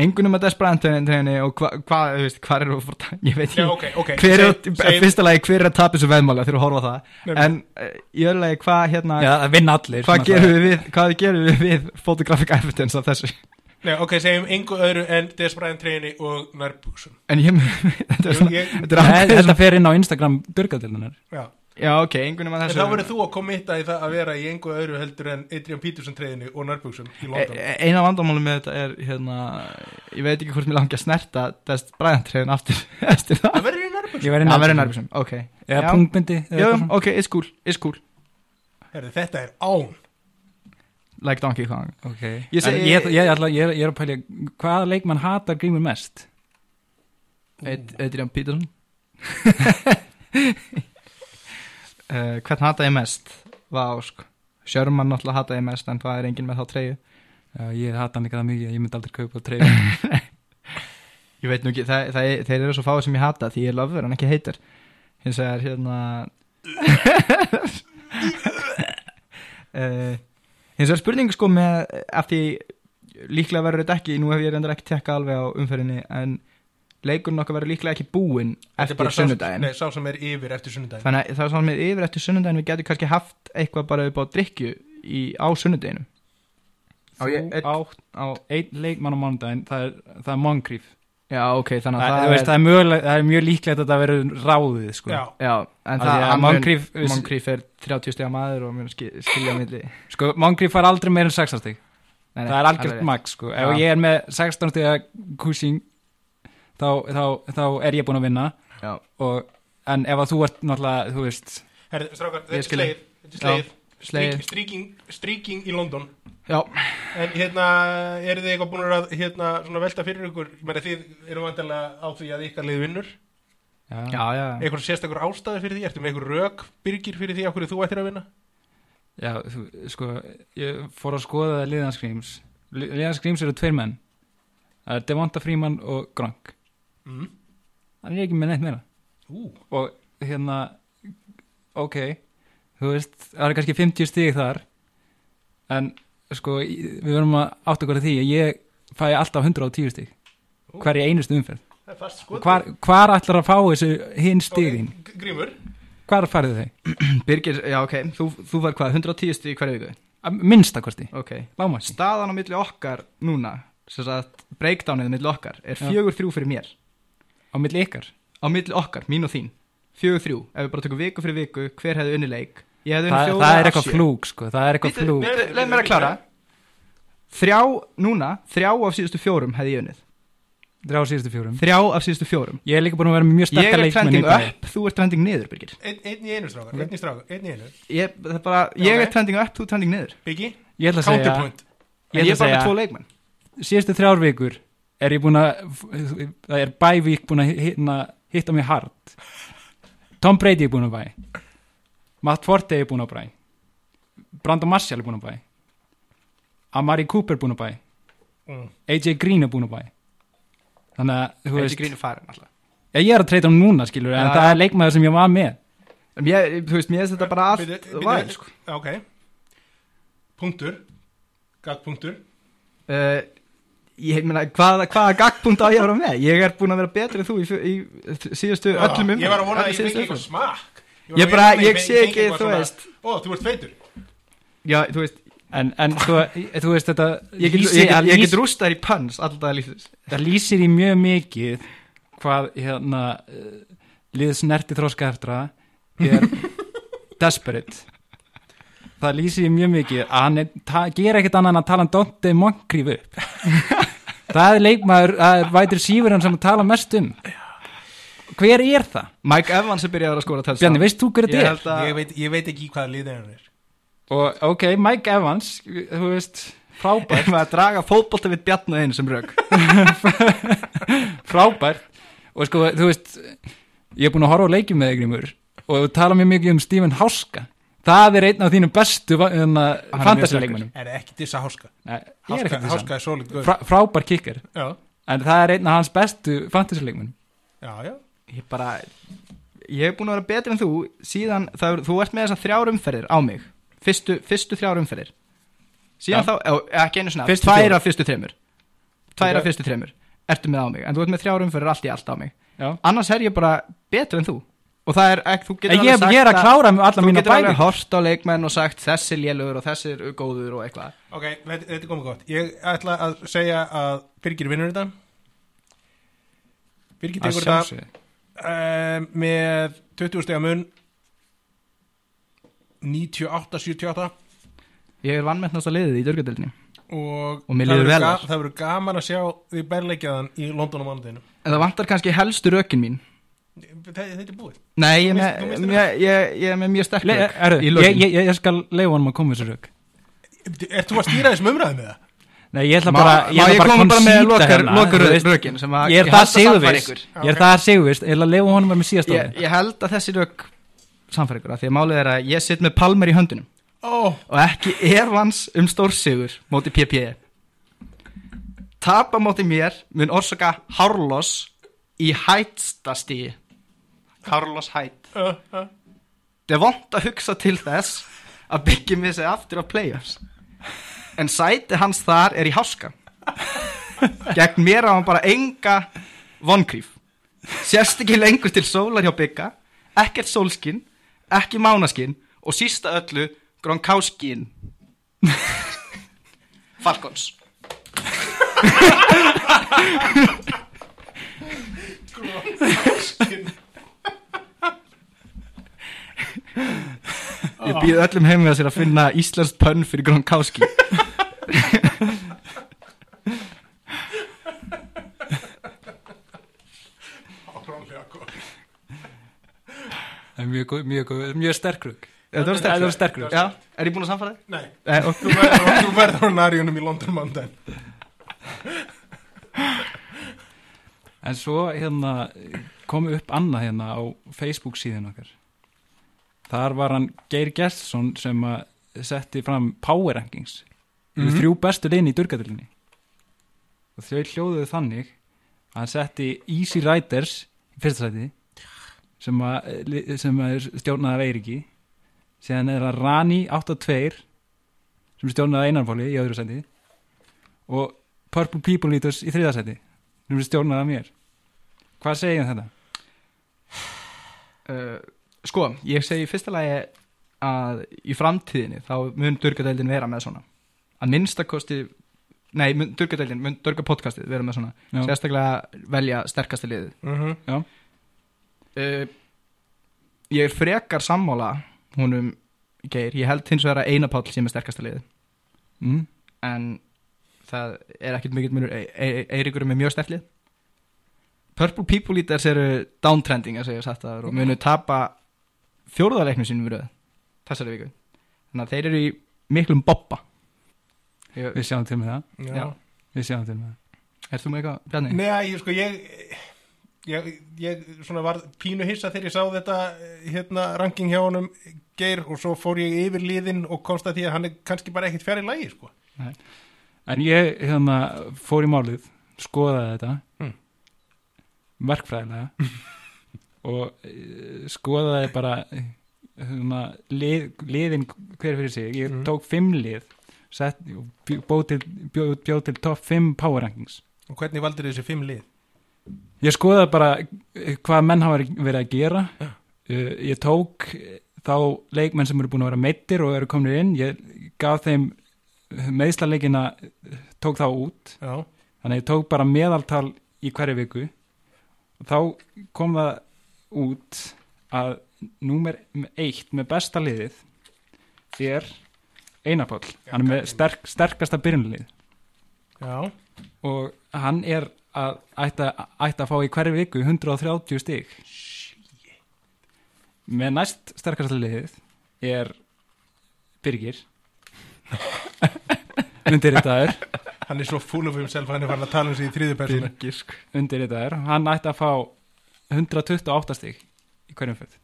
S4: Engunum að Des Bryant treyni og hvað, hva, þú veist, hvað eru að fara að ta- Ég veit
S3: Já,
S4: ekki
S3: ok, ok,
S4: Hver er,
S3: segjum-
S4: að,
S3: segjum-
S4: fyrsta lagi, hver er að tapa þessu veðmála Þegar að horfa á það En eh, í öðru lagi, hvað hérna
S2: Já, það vinna allir
S4: Hvað
S2: náttúrulega.
S4: gerum við við, hvað gerum við við Photographic evidence af þessu
S3: Nei, ok, segjum engu öðru en Des Bryant treyjunni og nærbúsum
S4: En ég, þetta er svona
S3: Ég-
S4: Þetta er
S2: Nei,
S4: ákveðið
S2: Þetta fer inn á Instagram byrgatildunar
S3: Já
S4: Já, ok, engunum að
S3: En
S4: þessu
S3: þá verður þú að komita í það að vera í engu öðru heldur en Adrian Peterson treyðinu og Nörbjörnsson í London.
S4: E- e- eina vandamálum með þetta er hérna, ég veit ekki hvort mér langi að snerta þess bræðantræðin aftur eftir
S3: Það
S4: það
S3: verður í Nörbjörnsson.
S2: Ég verði
S4: það verður
S2: nærmur
S4: nærbjörnsum, ok
S2: Eða
S4: Já.
S2: punktbindi eða
S4: Jú,
S2: eitthvað svona.
S4: ok, it's cool, it's cool
S3: Herðu, þetta er án.
S4: like Donkey Kong
S2: Ok
S4: Ég
S2: Ég,
S4: segi-
S2: ég, ég, ætla- ég, er- ég er að pælja hvaða leikmann hatar grímur mest
S4: Ed- Adrian Peterson uh, hvern hata ég mest Vá, sko Sjörmann náttúrulega hata ég mest en það er enginn með þá treyju
S2: Já, Ég hata hann ekki það mikið, ég myndi aldrei kaupa treyjun
S4: Ég veit nú ekki, það, það, þeir eru svo fáið sem ég hata því ég lofur hann ekki heitir hins vegar hérna uh, hins vegar spurning sko með af því líklega verður þetta ekki, nú hef ég reyndar ekki tekka alveg á umferðinni en leikurinn okkar verður líklega ekki búinn
S3: Þetta er
S4: eftir
S3: bara sá-
S4: sunnudaginn
S3: Nei, sá sem er yfir eftir sunnudaginn.
S4: þannig að það er svona með yfir eftir sunnudaginn við getum kannski haft eitthvað bara upp á drikju í, á sunnudaginnum á,
S2: Þú
S4: ég- einn-
S2: átt
S4: á,
S2: einn leikmann á mánudaginn, það er, það er Moncrief
S4: já, ok, þannig að
S2: Það,
S4: það,
S2: það, veist, það, er mögulega, það er mjög líklegt að þetta verður ráðið sko.
S3: Já,
S4: Já,
S2: Af
S4: en
S2: því
S4: það,
S2: að
S4: hann
S2: Moncrief-
S4: mun, Moncrief er 30 stiga maður og mun skil, skilja á milli Nei,
S2: Sko, Moncrief fær aldrei meira en 16 stig
S4: nei,
S2: Það er algjört
S4: alveg.
S2: max sko.
S4: Já.
S2: Ef ég er með 16 stiga kúsing þá, þá, þá er ég búin að vinna
S4: Já,
S2: og, En ef að þú ert náttúrulega Þú veist
S3: herri, strákar,
S4: Ég
S3: þetta er
S4: skil
S3: slegið Þetta er
S4: Já,
S3: slegið
S4: slegið.
S3: Stríking- Stríking, stríking í London
S4: já,
S3: En hérna, eru þið eitthvað búin að hérna, svona velta fyrir ykkur Ég meina, Þið eru vandilega á því að ykkar lið vinnur
S4: já, já.
S3: Eitthvað sérstakur ástæði fyrir því Ertu með eitthvað rök, byrgir fyrir því af hverju þú ættir að vinna
S2: Já, þú, sko, ég fór að skoða liðanskríms Liðanskríms eru tveir menn Það er Devonta Freeman og Gronk
S3: Mm.
S2: Mhm. Hann er ekki með neitt meira
S3: Ú,
S2: Og hérna, ok Þú veist, það er kannski 50 stig þar En sko, í- við verðum að átta okkur að því að Ég fæ alltaf 110 stig Hverja einustu umferð
S3: það er fast
S2: Og
S3: skoð
S2: Hvar, hvar ætlar að fá þessu hinn stigin?
S3: Ok, G- Grímur
S2: Hvar færðu þau?
S4: Birgir, já, ok, þú, þú var hvað, 110 stig hverju viku?
S2: Að Minnstakosti,
S4: Ok,
S2: lámast
S4: staðan á milli okkar núna, sem sagt, breakdownið á milli okkar er
S2: Já.
S4: 4-3 fyrir mér
S2: Á milli ykkar
S4: á milli okkar, mín og þín 4-3, ef við bara tökum viku fyrir viku hver hefði unni leik, ég hefði unni
S2: Þa,
S4: fjóra
S2: það er
S4: af
S2: eitthvað
S4: sjö.
S2: flúk sko, það er eitthvað
S4: Bíddu,
S2: flúk
S4: bíddu, leið mér að klára þrjá, núna, þrjá af síðustu fjórum hefði ég unnið,
S2: þrjá síðustu fjórum
S4: þrjá af síðustu fjórum
S2: ég er líka búin að vera með mjög
S4: ég
S2: sterkar
S4: er
S2: leikmenn í
S4: trending
S2: dag
S4: up, þú ert trending niður Birgir,
S3: Einn einn í einu strákar, einn í strákar, einn í einu
S4: ég, það er bara ég
S3: Ok.
S4: er trending up, þú trending niður
S3: Biggi,
S2: ég ætla að segja,
S3: counterpoint
S2: ég
S4: en
S2: ætla
S4: ég er bara með
S2: að
S4: tvo leikmenn
S2: segja síðustu þrjár vikur er ég búin að það er bævík búin að hitta, hitta mig hard Tom Brady er búin að bæ Matt Forte er búin að bæ Brandon Marshall er búin að bæ Amari Cooper er búin að bæ
S3: Mm.
S2: AJ Green er búin að bæ þannig að þú
S4: Eddi
S2: veist,
S4: Green er farin alltaf
S2: ég er að treyta hann núna skilur en
S4: Já.
S2: það er leikmaður sem ég var með
S4: En ég, þú veist, mér er þetta bara allt
S3: Bíddu, bíddu,
S4: væl, sko.
S3: já, Ok Punktur Gagpunktur
S4: uh, ég meina, hvaða, hvaða gagnpunkt á ég að vera með ég er búin að vera betri en þú í, fjö- í, í síðustu öllum um
S3: Ég var að vona að ég fengi eitthvað smakk
S4: Ég bara- ég sé ekki, þú veist.
S3: Ó, þú ert feitur
S4: já, þú veist,
S2: En, en sko, þú veist þetta
S4: ég get,
S2: lýsir-
S4: ég
S2: það
S4: get, ég get
S2: lýs-
S4: rústa þér í pönns alltaf að líftis
S2: það lýsir í mjög mikið hvað hérna eh, lið snerti þróska eftir að er desperate það lýsir í mjög mikið að hann er, ta, gera ekkert annað en að tala um Dante Moncrief upp það er leikmaður, það er vætir sífur hann sem að tala mest um hver er það?
S4: Mike Evans er byrjaður að skora tölst
S2: Bjarni, veist þú hver
S4: ég
S2: þetta er?
S4: held að,
S3: ég veit, ég veit ekki hvað liðið hann er
S2: og ok, Mike Evans þú veist, frábært
S4: maður að draga fótbolta við Bjarni einu sem rauk
S2: frábært og sko, þú veist ég er búin að horfa á leikjum með þig Grímur og þú tala mjög mikið um Stephen Háska það er einn af þínum bestu
S4: mjög
S2: fantasy-leikmennum
S3: Er ekki dissa háska
S2: ég er
S3: Háska,
S2: ekkert þess
S3: háska er svolít guð
S2: Frá, frábær kikkar,
S3: Já,
S2: en það er einn af hans bestu fantasy-leikmennum
S3: já, já
S4: ég bara ég er búin að vera betri en þú síðan það, er, þú ert með þessar þrjár umferðir á mig fyrstu, fyrstu þrjár umferðir síðan þá, eða, ekki einu svona
S2: Fyrstu
S4: tvær
S2: fjórar.
S4: af fyrstu þreymur tvær
S2: Ok.
S4: af fyrstu þreymur ertu með á mig en þú ert með þrjár umferðir allt í allt á mig
S2: Já.
S4: annars er ég bara betri en þú og það er ekki, þú getur
S2: En ég,
S4: alveg sagt
S2: ég er að klára með alla
S4: þú
S2: mína
S4: getur
S2: bæði
S4: alveg hort á leikmenn og sagt þessi lélugur og þessi er góður og eitthvað
S3: Ok, þetta þetta er komið gott Ég ætla að segja að Birgir vinnur þetta Birgir
S2: að
S3: tekur þetta
S2: sjálfsögðu
S3: uh, með 20 stega mun 98-78
S4: ég er vannmennast að liðið í dörgadeldinni
S3: og,
S4: Og mér
S3: það
S4: líður
S3: verður
S4: vel
S3: ga-
S4: þar.
S3: það verður gaman að sjá því berleikjaðan í London á mánudeginu
S4: en það vantar kannski helstu rökin mín
S3: þetta þetta er búið
S4: Nei, ég er
S3: Þú
S4: með,
S3: mistir
S4: ég, ég, ég er með mjög sterk
S2: Le,
S4: rök
S2: er,
S4: í
S2: ég,
S4: lokin.
S2: ég, ég skal leifa honum að koma þessu rauk
S3: Er þú að stýra þessum umræðum með það?
S2: Nei, ég ætla
S4: Má-
S2: bara
S4: má ég
S2: ætla
S4: koma bara með
S2: concede
S4: lokar-
S2: hérna,
S4: lokar-
S2: þú veist.
S4: rökin sem að-
S2: Ég
S4: ég
S2: er
S4: held
S2: það
S4: að sannfæra
S2: sigurvist
S4: ykkur.
S2: Ég er það sigurvist, ég ætla að leifa honum að með síðast
S4: ég,
S2: orðið
S4: ég held að þessi rök samfæra ykkur að því að málið er að ég sitt með Palmer í höndunum
S3: Ó,
S4: og ekki ervans um stórsigur móti PPE tapa móti mér mun orsaka Harlos í hættstastíi Harlos hætt
S3: uh, uh.
S4: það er vond að hugsa til þess að byggja mér sig aftur á playoffs en sæti hans þar er í háska gegn mér á hann bara enga vonkrýf sérst ekki lengur til sólar hjá bygga ekkert sólskin, ekki mánaskinn og sísta öllu Gronkowskiinn Falcons Ég býð öllum heim við að sér að finna Íslands pönn fyrir Gronkowski
S3: Árónlega gott
S2: Það er mjög, góð- mjög, góð- mjög sterkrug
S4: Þetta var
S2: Það
S4: sterkur
S2: var sterkrug
S4: Já, er ég búin að samfara þig?
S3: Nei,
S4: Nei, ok
S3: þú verður, þú verður á nariðunum í London Mountain
S2: En svo hérna kom upp annað hérna á Facebook síðan okkar. Þar var hann Geir Gjertsson sem að setti fram Power Rankings mm
S3: Mhm.
S2: þrjú bestu leini í durgadölinni. Og þau hljóðuðu þannig að hann setti Easy Riders í fyrsta sæti sem, að, li- sem að er stjórnað af Eiriki síðan er það Rani 82 sem er stjórnað af Einarfóli í öðru sæti og Purple People Leaders í þriða sæti sem er stjórnað af mér. Hvað segir þetta?
S4: uh, Sko, ég segi í fyrsta lagi að í framtíðinni þá mun Durgadeildin vera með svona að minnstakosti Nei, mun, Durgadeildin, mun Durgapodcastið vera með svona
S2: Já.
S4: Sérstaklega velja sterkasti liðið
S3: Mhm.
S4: uh, Ég er frekar sammála húnum Geir, ég held hins vegar að Einar Páll sé með sterkasta liðið
S2: Mm?
S4: en það er ekkert mikið munur E- E- Eiríkur er með mjög stertlið Purple People Eaters eru downtrending að segja satt aður og munu tapa fjórðarleiknum sínum við röð þessari viku þannig að þeir eru í miklum boppa
S2: Við sjáum til með það.
S3: Já.
S4: Já.
S2: Við sjáum til með það.
S4: Er þú með eitthvað, Bjarni?
S3: Nei, ég sko, ég ég, ég svona var pínu hissa þegar ég sá þetta hérna ranking hjá honum geir og svo fór ég yfir liðin og komst að því að hann er kannski bara ekkit fjarr í lagi sko.
S2: En ég hérna, fór í málið, skoðaði þetta,
S3: Mm.
S2: verkfræðilega, og e, skoðaði bara eh, hérna, lið, liðin hver fyrir sig. Ég
S3: Mm.
S2: tók fimm lið, sett, og bjó- bjó til, bjó, bjó til top 5 power rankings.
S3: og hvernig valdir þessi fimm lið
S2: Ég skoðaði bara eh, hvað menn hafa verið að gera. Uh, ég tók eh, þá leikmenn sem eru búin að vera meittir og eru komin inn. Ég gaf þeim meðslarleikina, tók þá út.
S3: Já,
S2: Þannig að ég tók bara meðaltal í hverju viku. Þá kom það út að númer eitt með besta liðið er Einarpáll. Hann er með sterk, sterkasta byrjunlið
S3: já,
S2: og hann er að ætta, ætta að fá í hverju viku 130 stig með næst sterkasta liðið er Birgir undirritaður
S3: hann er svo full of himself að hann er farin að tala um sig í þriðu personu
S4: Birgisk
S2: sko, undirritaður, hann ætti að fá 128 stig í hverjum fyrð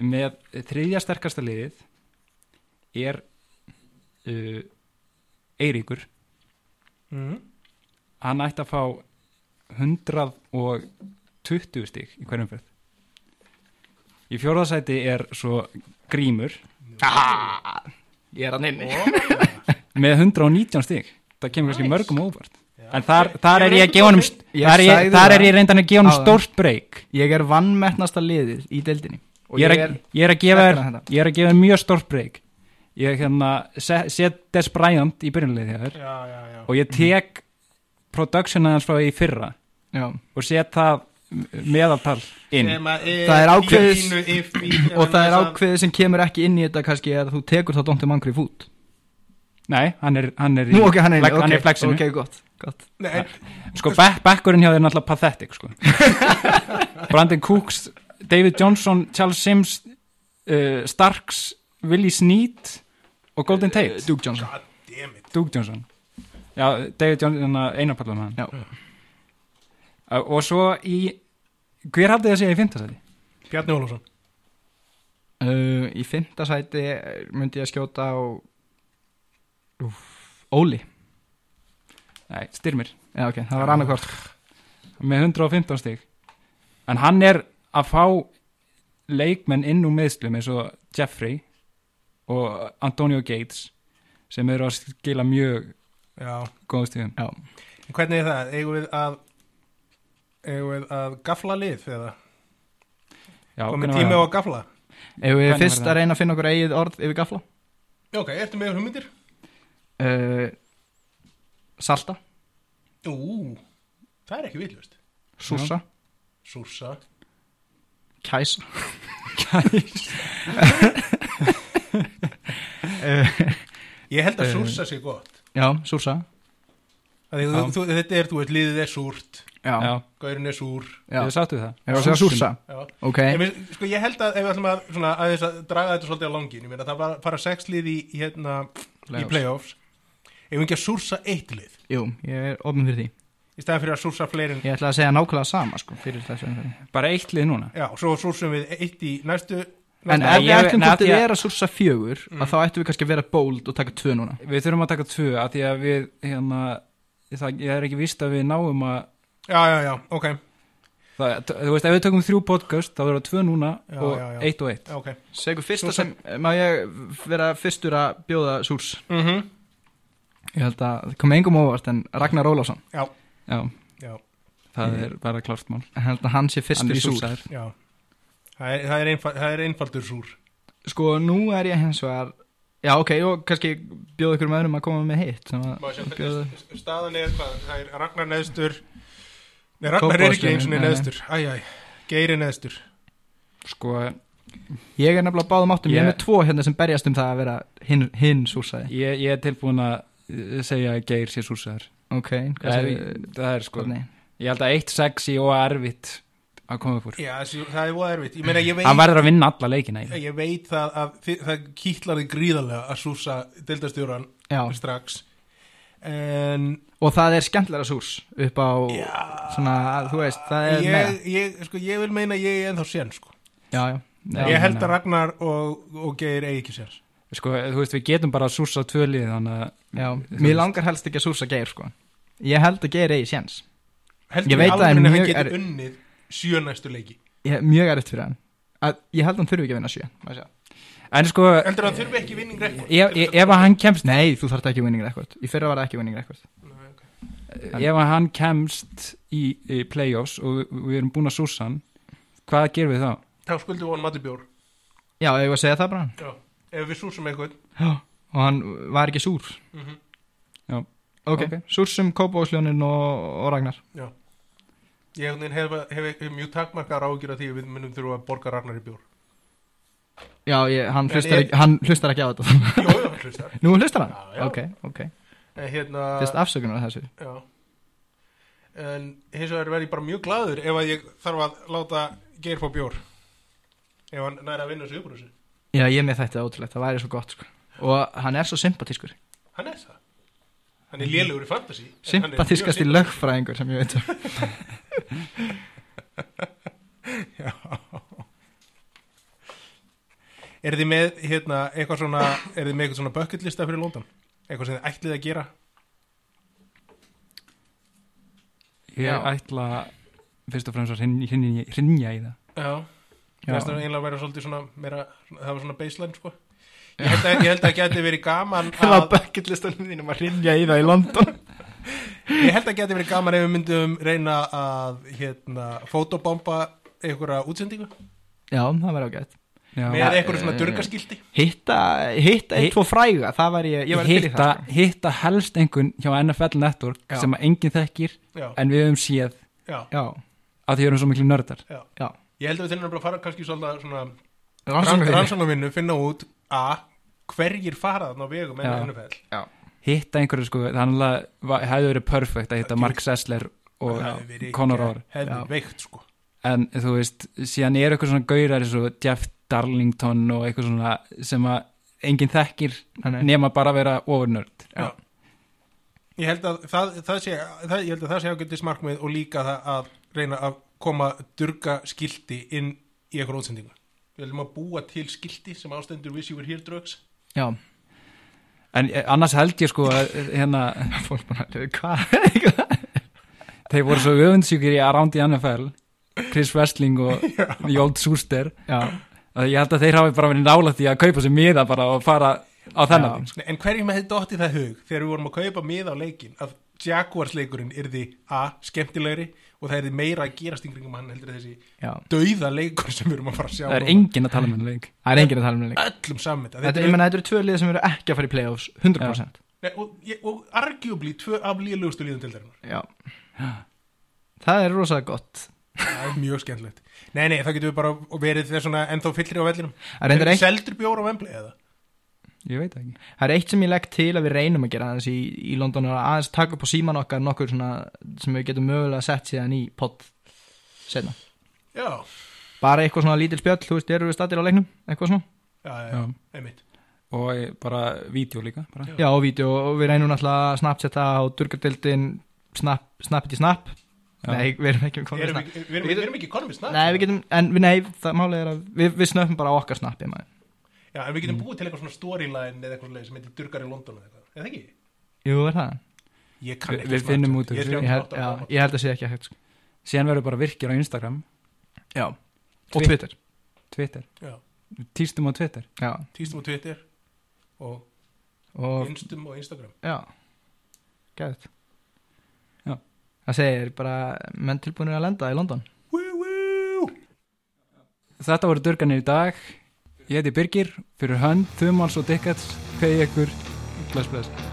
S2: með þriðja sterkasta liðið er uh, Eiríkur
S3: mm.
S2: hann ætti að fá 120 stig í hverjum fyrð í fjórðasæti er svo Grímur
S4: ah, Ég er að nynni
S2: með 119 stig það kemur kannski mörgum á óvart en þar, þar er ég að gefa honum st-
S4: Ég
S2: þar er ég-
S4: sagði
S2: þar
S4: það.
S2: er ég reyndan að gefa honum
S4: Áðan.
S2: stórt breyk
S4: Ég er vannmettnasta liðið í deildinni og
S2: ég er, að, ég er að gefa þér
S4: Þetta er þetta.
S2: ég er að gefa þér mjög stórt breyk ég hérna set, set Des Bryant í byrjunlið hjá þér
S3: Já, já, já
S2: og ég tek productionið hans frá í fyrra
S4: Já,
S2: og set það m- meðaltal inn
S3: Sem að
S4: Það er ákveðis-
S3: pínu if- í-
S4: og það er
S3: þess að-
S4: ákveðið sem kemur ekki inn í þetta kannski að þú tekur þá Dónti Mangri fút
S2: nei, hann er, hann er, í-
S4: Nú ok, hann er,
S2: legg- hann
S4: okay,
S2: er í flexinu
S4: Ok, gott, gott.
S3: Nei, en-
S2: sko, back, backurinn hjá þér er náttúrulega pathetic sko. Brandon Cooks David Johnson, Charles Sims uh, Starks Willie Sneed og Golden Tate
S4: Duke Johnson
S3: God damn it
S2: Eh, Duke Johnson Já, David Johnson, hérna, einarpallar með hann
S4: Já.
S2: Uh, Og svo í Hver haldið þið að segja í fimmtasæti?
S3: Bjarni Ólafsson
S4: uh, Í fymta sæti eh, myndi ég að skjóta á Úf, Óli
S2: Nei, Styrmir
S4: Já, ok, það var annarkvort
S2: Með 115 stig En hann er að fá leikmenn inn úr meðslum eins og Jeffrey og Antonio Gates sem eru að skila mjög
S3: Já
S2: góðum stíðum
S4: Já,
S3: En Hvernig er það? Eigum við að eigum við að gafla lið eða?
S2: Já,
S3: Komið
S2: hvernig var
S3: tími á
S2: það?
S3: að gafla
S4: ef við
S2: Hvernig
S4: fyrst
S2: var það?
S4: að reyna að finna okkur eigið orð yfir gafla
S3: Ok, ertu með hugmyndir?
S4: uh, Salta
S3: Ú, það er ekki villust
S4: Súsa,
S3: Súsa
S4: kæsa
S2: Kæs.
S3: Ég held að
S4: Eh.
S3: súsa sé gott
S4: Já, súsa
S3: Af því þú, þú, Þetta er, þú veist, liðið er súrt
S4: Já,
S2: Já,
S4: já,
S3: Gaurin er súr
S4: já.
S2: við sáttu það
S4: Ég var að segja súsa
S3: Já
S4: Ok,
S3: Ég, minn, sko, ég held að ef við ætlum að, svona, aðeins að draga þetta svolítið á langin, ég meina það bara fara sex lið í, í, hérna, í
S4: Playoffs.
S3: playoffs ef við ekki að súrsa eitt lið
S4: jú, ég er ofnum fyrir því
S3: í staðan fyrir að súrsa fleirin
S4: Ég ætla að segja nákvæmlega sama sko fyrir þessu umferð.
S2: Bara eitt lið núna
S3: já, svo súrsum við eitt í næstu
S4: En
S2: Nei,
S4: ef við
S2: ég-
S4: ættum
S2: nei,
S4: hvort
S2: því
S4: við
S2: að-
S4: er að Mm. súrsa fjögur að þá ættum við kannski að vera bold og taka tvö núna
S2: Við þurfum að taka tvö að því að við hérna, það, ég er ekki víst að við náum að
S3: já, já, já, ok,
S2: það, þú veist, ef við tökum þrjú podcast þá verður það tvö núna
S3: Já,
S2: og
S3: já, já.
S2: eitt og eitt
S3: já, ok
S4: Segur fyrsta
S3: Súrsa-
S4: sem, má ég vera fyrstur að bjóða súrs
S3: mm
S4: Mhm. Ég held að það kom engum óvart en Ragnar Ólafsson
S3: já,
S2: Já,
S3: já,
S2: það er bara klart mál
S4: Ég held að hann sé
S2: Hann
S4: fyrstur
S2: er
S4: í súrs
S2: súrsaður.
S3: já það er, það er, einfald, það er einfaldur súr
S4: Sko, nú er ég hins vegar Já, ok, og kannski bjóða ykkur meðurum að koma með hitt sem að bjóða
S3: staðan er hvað, það er Ragnar neðstur nei, Ragnar er ekki eins og
S4: Kópavogsstjórinn, nei,
S3: neðstur æ, æ, Geiri neðstur
S2: Sko,
S4: Ég er nefnilega á báðum áttum, ég er
S2: Ég-
S4: með tvo hérna sem berjast um það að vera hinn, hinn súrsaði
S2: ég, ég er tilbúin að eh, segja að Geir sé súsaður
S4: Ok,
S2: það,
S4: hvað segir
S2: það er sko
S4: Árni?
S2: Ég held að eitt sexi og erfitt að koma upp úr
S3: já, þessi- það er voða erfitt, ég meina ég veit
S2: Hann verður að vinna alla leikina í.
S3: ég veit það að þi- það kýtlar þið gríðarlega að súsa deildastjóran
S4: Já,
S3: strax en
S4: og það er skemmtilega súrs upp á
S3: Já.
S4: svona, þú veist, það er
S3: ég,
S4: meira
S3: ég, sko, ég vil meina að ég er ennþá sén sko.
S4: Já, já, Nei,
S2: Já,
S3: ég held
S2: nei, nei.
S3: að Ragnar og, og Geir eigi ekki séns
S2: Sko, þú veist, við getum bara að súsa tvö lið þannig að
S4: já Mér langar helst ekki að súrsa geir, sko Ég held að geir eigi séns
S3: heldur
S4: Ég
S3: við
S4: veit að það er
S3: alveg að hann
S4: mjög
S3: getur
S4: erfitt.
S3: unnið sjö næstu leiki
S4: Ég er mjög erfitt fyrir hann að, Ég held að hann þurfi ekki að vinna sjö má ég segja.
S2: En sko,
S3: heldur hann þurfi ekki vinning rekord
S2: ef, ef- ef að hann kemst
S4: Nei, þú þarft ekki winning record Í fyrra var það ekki winning record
S2: ef að hann kemst í, í play-offs og við, við erum búin að súsa hann hvað gerum við þá?
S3: þá skuldum við hann matibjór
S4: Já, ég var að segja það bara
S3: Já. ef við súsum eitthvað
S4: Já, og hann var ekki súr
S2: Já.
S4: Ok,
S2: Ok.
S4: súrsum, kópásljónin og, og Ragnar
S3: ég einhvern veginn hef, hef, hef mjög takmarkar ágjur að því að við munum þurfa að borga Ragnar í bjór
S4: Já, ég, hann,
S3: En
S4: hlustar
S3: ég-
S4: ekki, hann hlustar ekki á þetta
S3: Jó, já, hann hlustar.
S4: Nú hlustar hann?
S3: Já, já.
S4: Ok, ok
S3: En hérna,
S4: Fyrst afsökunar þessu
S3: Já En hins vegar verð ég bara mjög glaður ef að ég þarf að láta Geir fá bjór ef hann næri að vinna sig upp úr þessu
S4: Já, ég með þetta ótrúlegt, það væri svo gott sko. Og hann er svo sympatískur
S3: Hann er það Hann er lélugur í fantasy en hann er mjög
S4: Sympatískasti
S3: symp-
S4: lögfræðingur sem ég veit um
S3: Er þið með hérna, eitthvað svona er þið með eitthvað svona bucket lista fyrir London eitthvað sem þið ætlið að gera
S2: Ég
S4: Já.
S2: ætla fyrst og fremst að hryn- hrynja hrynja í það
S3: Já
S4: Já.
S3: Það er einlega að vera svolítið svona meira, það var svona baseline sko Ég held að, ég held að geti verið gaman að,
S4: bucketlistanum þínum að rinja í það í London
S3: ég held að geti verið gaman ef við myndum reyna að hérna, fotobomba einhverja útsendingu
S4: Já, það væri ágætt
S2: Já.
S3: með eitthvað svona dörgaskildi
S4: Hitta, hitta eitt
S2: Hi-
S4: tvo fræga, það væri ég, ég væri til í
S2: hitta,
S4: það sko.
S2: hitta helst einhvern hjá NFL Network
S4: Já.
S2: sem að enginn þekkir
S3: já,
S2: en við höfum séð
S3: já,
S4: Já,
S2: að því við erum svo miklu nördar
S3: já.
S4: já
S3: ég held að við þurfum nefnilega að fara kannski svolítið svona
S4: Rannsóknarvinnu.
S3: rannsóknarvinnu finna út a hverjir fara þarna á vegum en
S2: Já.
S3: NFL
S2: hitta einhverju sko, þannig að hefði verið perfekt að hitta
S3: Það
S2: Mark Sessler og
S3: Það hefði verið
S2: Conor
S3: ekki-
S2: Orr
S3: hefði
S4: Já.
S3: veikt sko
S2: en þú veist, síðan er eitthvað svona gaurar eins og Jeff Darlington og eitthvað svona sem að enginn þekkir
S4: Nei, nei.
S2: nema bara að vera ofurnörd
S4: Já.
S3: ég held að það, það sé það, ég held að það sé ágættis markmið og líka það að reyna að koma dörgaskildi inn í eitthvað útsendingu við heldum að búa til skildi sem ástendur wish you were here drugs
S4: Já,
S2: en eh, annars held ég sko að eh, hérna,
S4: fólk bara, hvað?
S2: þeir voru svo öfundsjúkir í Around the NFL Chris Westling og Jóld Súster
S4: Já,
S2: að ég held að þeir hafi bara verið nálægt í að kaupa sér miða bara og fara á
S4: Já.
S2: þennan þing, sko.
S3: Nei, en hverjum hefði dottið það hug þegar við vorum að kaupa mið á leikin að Jaguars leikurinn yrði a, skemmtilegri og það yrði meira að gerast yngringum hann heldur en þessi
S4: já
S3: dauða leikur sem við erum að fara að sjá
S2: það er
S3: núna.
S2: enginn að tala með leik
S4: Það er enginn að tala um leik
S3: öllum sammynd
S4: Þetta, ég menna, þetta eru tvö lið sem eru ekki að fara í playoffs 100%
S3: og, og, og arguably tvö af líðlegustu líðum til þeirra
S4: Já, það er rosalega gott
S3: það er mjög skemmtilegt Nei, nei, það getur við bara verið þegar svona ennþá fyllri á vellinum
S4: Það er reyndar eitt-
S3: Seldur bjór á vembli eða?
S2: ég veit það ekki
S4: Það er eitt sem ég legg til að við reynum að gera aðeins í, í London og aðeins taka upp á síman okkar nokkur svona sem við getum mögulega sett síðan í podd setna.
S3: Já,
S4: Bara eitthvað svona lítil spjöll, þú veist, eru við statir á leiknum, eitthvað svona.
S3: já, já,
S2: Já.
S3: einmitt
S2: og ég- bara vídeo líka bara.
S4: Já, og vídeo og við reynum náttúrulega að snapsetta á durgadeildin snap, snappið í snapp.
S2: Já.
S4: Nei, við erum ekki með komið
S3: Erum
S4: snapp.
S3: Við við- við erum- við erum ekki konumist
S4: Nei, við getum, en við, nei, það málið er að við, við snöppum bara á okkar snappið maður.
S3: Já, en við getum búið til eitthvað svona storyline eða eitthvað svona sem heitir Durgar í London eða eitthvað, eða ekki?
S4: Jú, er það?
S3: Ég kann
S2: Vi-
S3: ekki
S2: við
S3: Snapchat.
S2: finnum út úr
S3: Ég er
S2: þessu.
S4: Ég held,
S3: 38
S4: já,
S3: ára gamall.
S4: ég held að sé ekki að hægt, sko.
S2: síðan verður bara virkir á Instagram
S4: Já. Og Twitter.
S2: Twitter,
S3: Já.
S2: týstum á Twitter
S4: Já.
S3: Týstum á Twitter og
S4: Og
S3: Instum og Instagram
S4: Já, gæðið
S2: Já.
S4: Það segir bara menn tilbúinir að lenda í London
S3: Woo, woo.
S2: þetta voru dörganir í dag ég heiti Birgir, fyrir hönd, þumals og dikkats, kveði ykkur bless bless